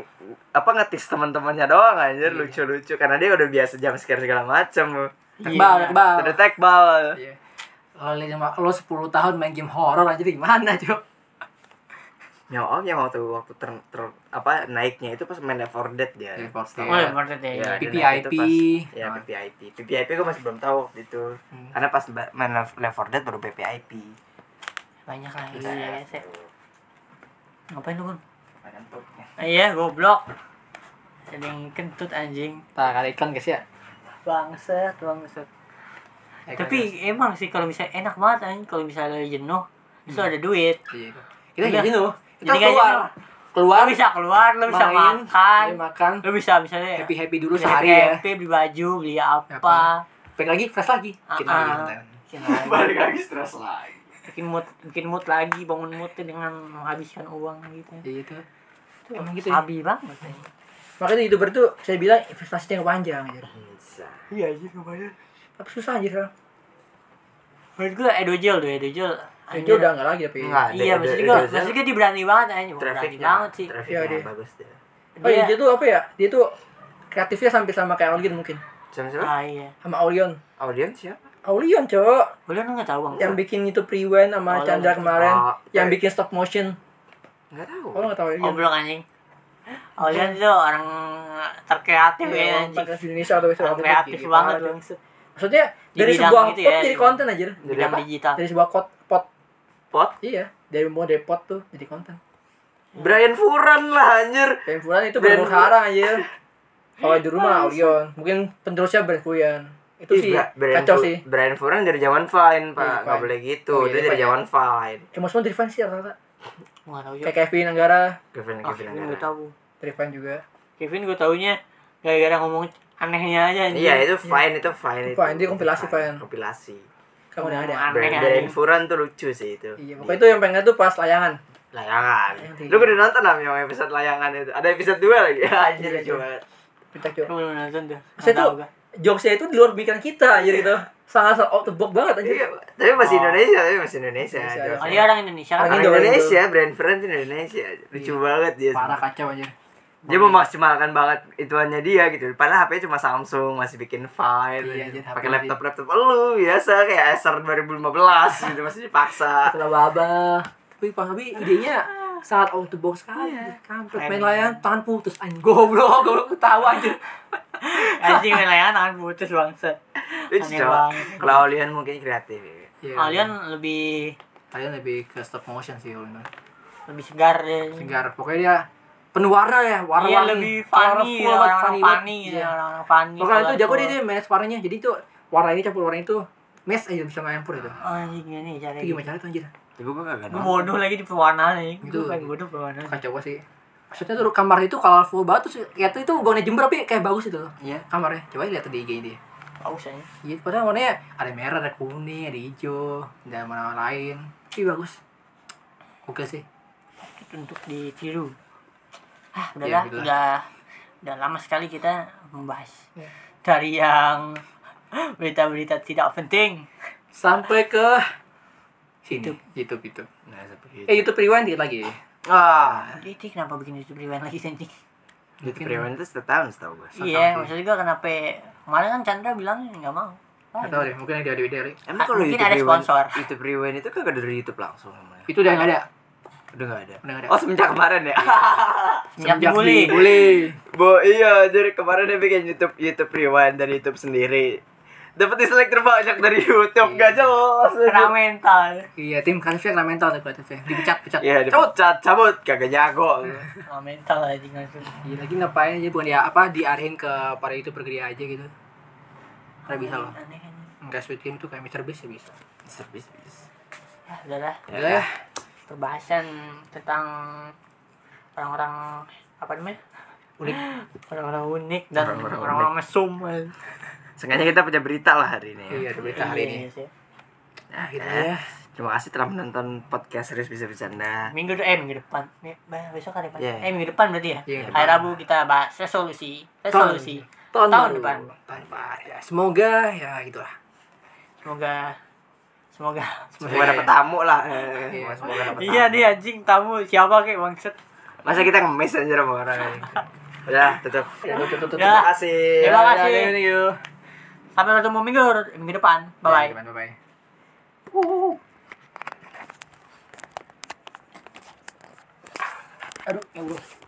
S3: apa ngetis teman-temannya doang anjir
S2: Iya.
S3: lucu-lucu karena dia udah biasa jam scare segala macem.
S2: Tekbal,
S1: Iya.
S2: tekbal.
S3: Terdetek bal.
S2: Iya. Kalau lima- lo 10 tahun main game horor aja tuh gimana, Cuk?
S3: Ya om yang waktu waktu ter, ter- apa naiknya itu pas main Left 4 Dead dia.
S2: Left 4 Dead.
S1: Oh, ya, horor deh.
S3: Iya, dia naik
S2: PPIP.
S3: itu pas- Ya,
S2: Ah.
S3: PPIP. PPIP gue masih belum tahu waktu itu.
S2: Hmm.
S3: Karena pas ba- main Left Left 4 Dead baru PPIP.
S1: Banyak lah gitu
S3: Iya.
S1: ya. Sek. Ngapain lu, Kun?
S3: Makan tutnya.
S1: Ah, Iya, goblok. Ada yang kentut anjing.
S2: Nah, kali iklan guys ya.
S1: Bangset, bangset.
S2: Iklan, guys.
S1: Tapi emang sih kalau misalnya enak banget anjing kalau misalnya jenuh, itu ada duit.
S2: Iya. kita
S1: Udah.
S2: gini loh. Kita
S1: Jadi kayak
S2: keluar. Keluar
S1: Lo bisa keluar, lo bisa
S2: main,
S1: makan.
S2: beli makan.
S1: Lo bisa misalnya
S2: Happy-happy dulu
S1: beli
S2: sehari ya.
S1: happy, beli baju, beli
S2: Apa?
S1: apa.
S2: Balik lagi fresh lagi.
S1: Ah,
S2: Kita
S1: ah.
S2: lagi konten.
S1: Bikin lagi.
S3: Balik lagi stres lagi.
S1: bikin mood, bikin mood lagi, bangun mood tuh dengan menghabiskan uang gitu.
S2: Iya itu.
S1: Itu
S2: Emang gitu ya.
S1: Sabi banget. anjing.
S2: Makanya youtuber tuh saya bilang investasinya panjang anjir.
S3: Bisa.
S1: Iya anjir lumayan.
S2: Tapi susah anjir sekarang.
S1: Menurut gue Edojel tuh, Edojel.
S2: Itu udah enggak lagi tapi.
S3: Enggak,
S1: Iya,
S3: dia-
S1: maksud
S3: dia-
S1: gue,
S3: dia-
S1: maksud gue dia berani banget anjir. Berani
S3: trafficnya
S1: banget sih.
S3: trafficnya
S2: Iya, dia.
S3: bagus dia
S2: Oh iya,
S1: Dia-
S2: dia tuh apa ya? Dia tuh kreatifnya sampai sama kayak Aulion mungkin.
S3: siapa siapa
S1: Ah iya.
S2: Sama Aulion.
S3: audiens siapa
S2: Aulion, Cok.
S1: Boleh lu enggak tahu, Bang?
S2: Yang bikin itu Priwen sama
S1: Aulion.
S2: Chandra kemarin,
S3: Ah,
S2: yang
S3: eh.
S2: bikin stop motion.
S3: nggak tahu
S2: Oh, lo enggak tahu Aulion.
S1: Goblok anjing. Aulion tuh orang terkreatif
S2: Iya,
S1: ya
S2: orang
S1: anjing.
S2: podcast Indonesia atau
S1: Orang
S2: Australia,
S1: kreatif
S2: gitu.
S1: banget bang.
S2: Maksudnya
S1: Di
S2: dari
S1: bidang
S2: sebuah
S1: gitu
S2: pot
S1: ya,
S2: jadi
S1: di-
S2: konten anjir.
S1: Bidang
S3: apa?
S1: digital.
S2: Dari sebuah kot, pot.
S3: pot
S2: Iya, dari mau dari pot tuh jadi konten.
S3: Brian Furan lah anjir
S2: Pemfuran itu
S3: Dan-
S2: baru sekarang anjir. Kalau di rumah Aulion, mungkin penerusnya Brand Fuyan.
S1: Iya,
S2: Itu
S3: Ih,
S2: sih
S3: Bra- Brian,
S2: kacau
S3: Fu-
S2: sih.
S3: Brian Furan dari zaman Vine pak
S2: Iya,
S3: nggak
S2: Vine.
S3: boleh gitu
S2: Oh, iya,
S3: dia
S2: iya,
S3: dari
S2: Pak, ya.
S3: zaman Vine
S2: Cuma semua dari fans sih rata-rata.
S1: Gua tahu juga.
S2: Kayak Kevin Anggara,
S3: Kevin
S1: Ah,
S3: Kevin
S1: Kevin
S3: Anggara.
S1: gue tahu.
S2: dari fan juga.
S1: Kevin gue taunya gara-gara ngomong anehnya aja anjing.
S3: iya itu Vine itu Vine itu
S2: Vine, dia kompilasi, Vine.
S3: Vine, kompilasi
S2: Kamu udah ada.
S1: Aneh,
S3: Brian,
S1: anjing.
S3: Brian Furan tuh lucu sih itu
S2: Iya, pokoknya itu yang pengen tuh pas layangan.
S3: layangan
S2: Yang tiga.
S3: lu udah nonton lah yang episode layangan itu ada episode 2 lagi anjir
S2: Iya,
S3: lucu
S2: iya.
S3: banget
S2: Pecah
S1: Lu
S2: cok.
S1: belum nonton tuh.
S2: Saya
S1: Nggak tahu
S2: tuh
S1: gua.
S2: jokesnya itu di luar pikiran kita anjir gitu. Sangat sangat out the box banget anjir.
S3: Iya, tapi masih
S1: Oh.
S3: Indonesia tapi masih Indonesia,
S2: Indonesia,
S3: Jokes.
S1: Oh, dia orang Indonesia kan.
S2: Orang
S3: Orang
S2: Indo, orang
S3: Indonesia, brand friend Indonesia. Lucu
S2: Iya.
S3: banget dia.
S2: kacau anjir.
S3: Dia memaksimalkan banget ituannya dia gitu. Padahal HP cuma Samsung, masih bikin file.
S2: Iya, anjir,
S3: pakai
S2: HP
S3: laptop-laptop lu biasa kayak Acer 2015 gitu masih dipaksa.
S2: Kena baba. Tapi Pak Habi idenya Iya. sangat out the box sekali. Kampret main layangan tangan putus anjing. Goblok, goblok ketawa anjir.
S1: anjing wilayah tangan putus bangset
S3: It's
S1: aneh
S3: cowok.
S1: banget
S3: Kalau Lian mungkin kreatif. ya.
S2: Iya.
S1: kalian lebih
S2: kalian lebih ke stop motion sih kalau menurut.
S1: lebih segar ya
S2: Segar. Pokoknya dia penuh warna ya, warna
S1: iya lebih funny ya, orang-orang funny
S2: iya.
S1: ya orang-orang funny
S2: Pokoknya itu jago
S1: colorful.
S2: dia, dia manage warnanya. Jadi itu warna ini campur warna itu mesh aja bisa nyampur itu.
S1: anjing ini cara
S2: Itu gimana cara tuh anjir?
S3: Tapi gue kagak
S1: gue
S3: nonton.
S1: bodoh lagi di pewarnaan nih gue
S2: Itu.
S1: paling bodoh pewarnaan
S2: Kacau banget sih. Maksudnya tuh kamar itu colorful banget terus ya tuh itu bangunnya jember tapi kayak bagus itu loh.
S3: Iya.
S2: Kamarnya. Coba lihat tuh di IG dia.
S1: haus aja
S2: Iya, padahal warnanya ada merah, ada kuning, ada hijau, ada warna lain. Tapi bagus. Oke sih.
S1: Itu untuk ditiru ah udah
S2: Ya,
S1: lah,
S2: gitu lah.
S1: udah udah lama sekali kita membahas
S2: Iya.
S1: dari yang berita-berita tidak penting
S2: Sampai ke sini.
S1: YouTube.
S2: YouTube, YouTube.
S3: Nah, seperti itu.
S2: Eh YouTube Rewind dikit lagi.
S3: Ah,
S1: Jadi kenapa bikin YouTube rewind lagi sih? Cik?
S3: itu prewen itu setahun setahu gue.
S1: Iya, maksud gue kenapa kemarin kan Chandra bilang nggak mau. Ah,
S2: Gak tau deh, mungkin ada di dari
S3: Emang kalau
S1: Mungkin
S3: YouTube
S1: ada
S3: Rewind-
S1: sponsor.
S3: YouTube Rewind itu kagak dari YouTube langsung namanya.
S2: Itu udah gak ada
S3: Udah nggak ada.
S2: Udah nggak ada.
S3: Oh semenjak kemarin ya.
S1: Semenjak dibully.
S2: dibully.
S3: Bo iya jadi kemarin dia bikin YouTube YouTube Rewind dari YouTube sendiri. Dapat dislike terbanyak dari YouTube gak jelas.
S1: Kena mental.
S2: Iya, tim Karifia kena mental tuh kreatifnya Dipecat, pecat
S3: Ya,
S2: Cabut.
S3: dipecat, cabut, kagak jago.
S1: Kena mental aja langsung.
S2: Iya, lagi ngapain aja, bukan ya apa, diarahin ke para youtuber gede aja gitu Karena bisa loh
S1: Aneh kan.
S2: Enggak sweet game tuh kayak Mr. Beast ya bisa
S3: Service, service.
S1: Ya, udah lah.
S3: Ya.
S2: Udah ya,
S1: Perbahasan tentang orang-orang apa namanya?
S2: unik
S1: Ya. Orang-orang unik dan
S3: Orang-orang
S1: orang-orang mesum.
S3: Sengaja kita punya berita lah hari ini. ya.
S2: Iya, ada berita hari ini
S1: Iya, sih.
S2: Nah, gitu ya
S3: Terima kasih telah menonton podcast series bisa bercanda.
S1: Minggu de- eh minggu depan. Mi- bah- Besok hari depan.
S3: Iya.
S1: Eh minggu depan berarti ya.
S2: Iya,
S1: Hari Rabu kita bahas resolusi.
S2: Tahun-
S1: Resolusi. Eh, Tahun
S2: Tahun, baru.
S1: depan.
S2: Tahun depan ya. Semoga ya gitulah
S1: Semoga semoga
S3: Semoga ada tamu lah. Eh,
S2: Iya.
S3: Semoga dapat tamu.
S1: Iya dia anjing tamu siapa kayak bangset.
S3: Masa kita ngemis aja sama orang. Udah, tutup.
S2: Ya, tutup,
S1: Ya.
S2: tutup, tutup.
S3: Terima kasih.
S1: Terima
S2: Ya,
S1: kasih.
S2: ya, ya, ya.
S1: Sampai bertemu minggu minggu depan. Bye bye.
S2: Ya, Bye-bye Aduh, ya Allah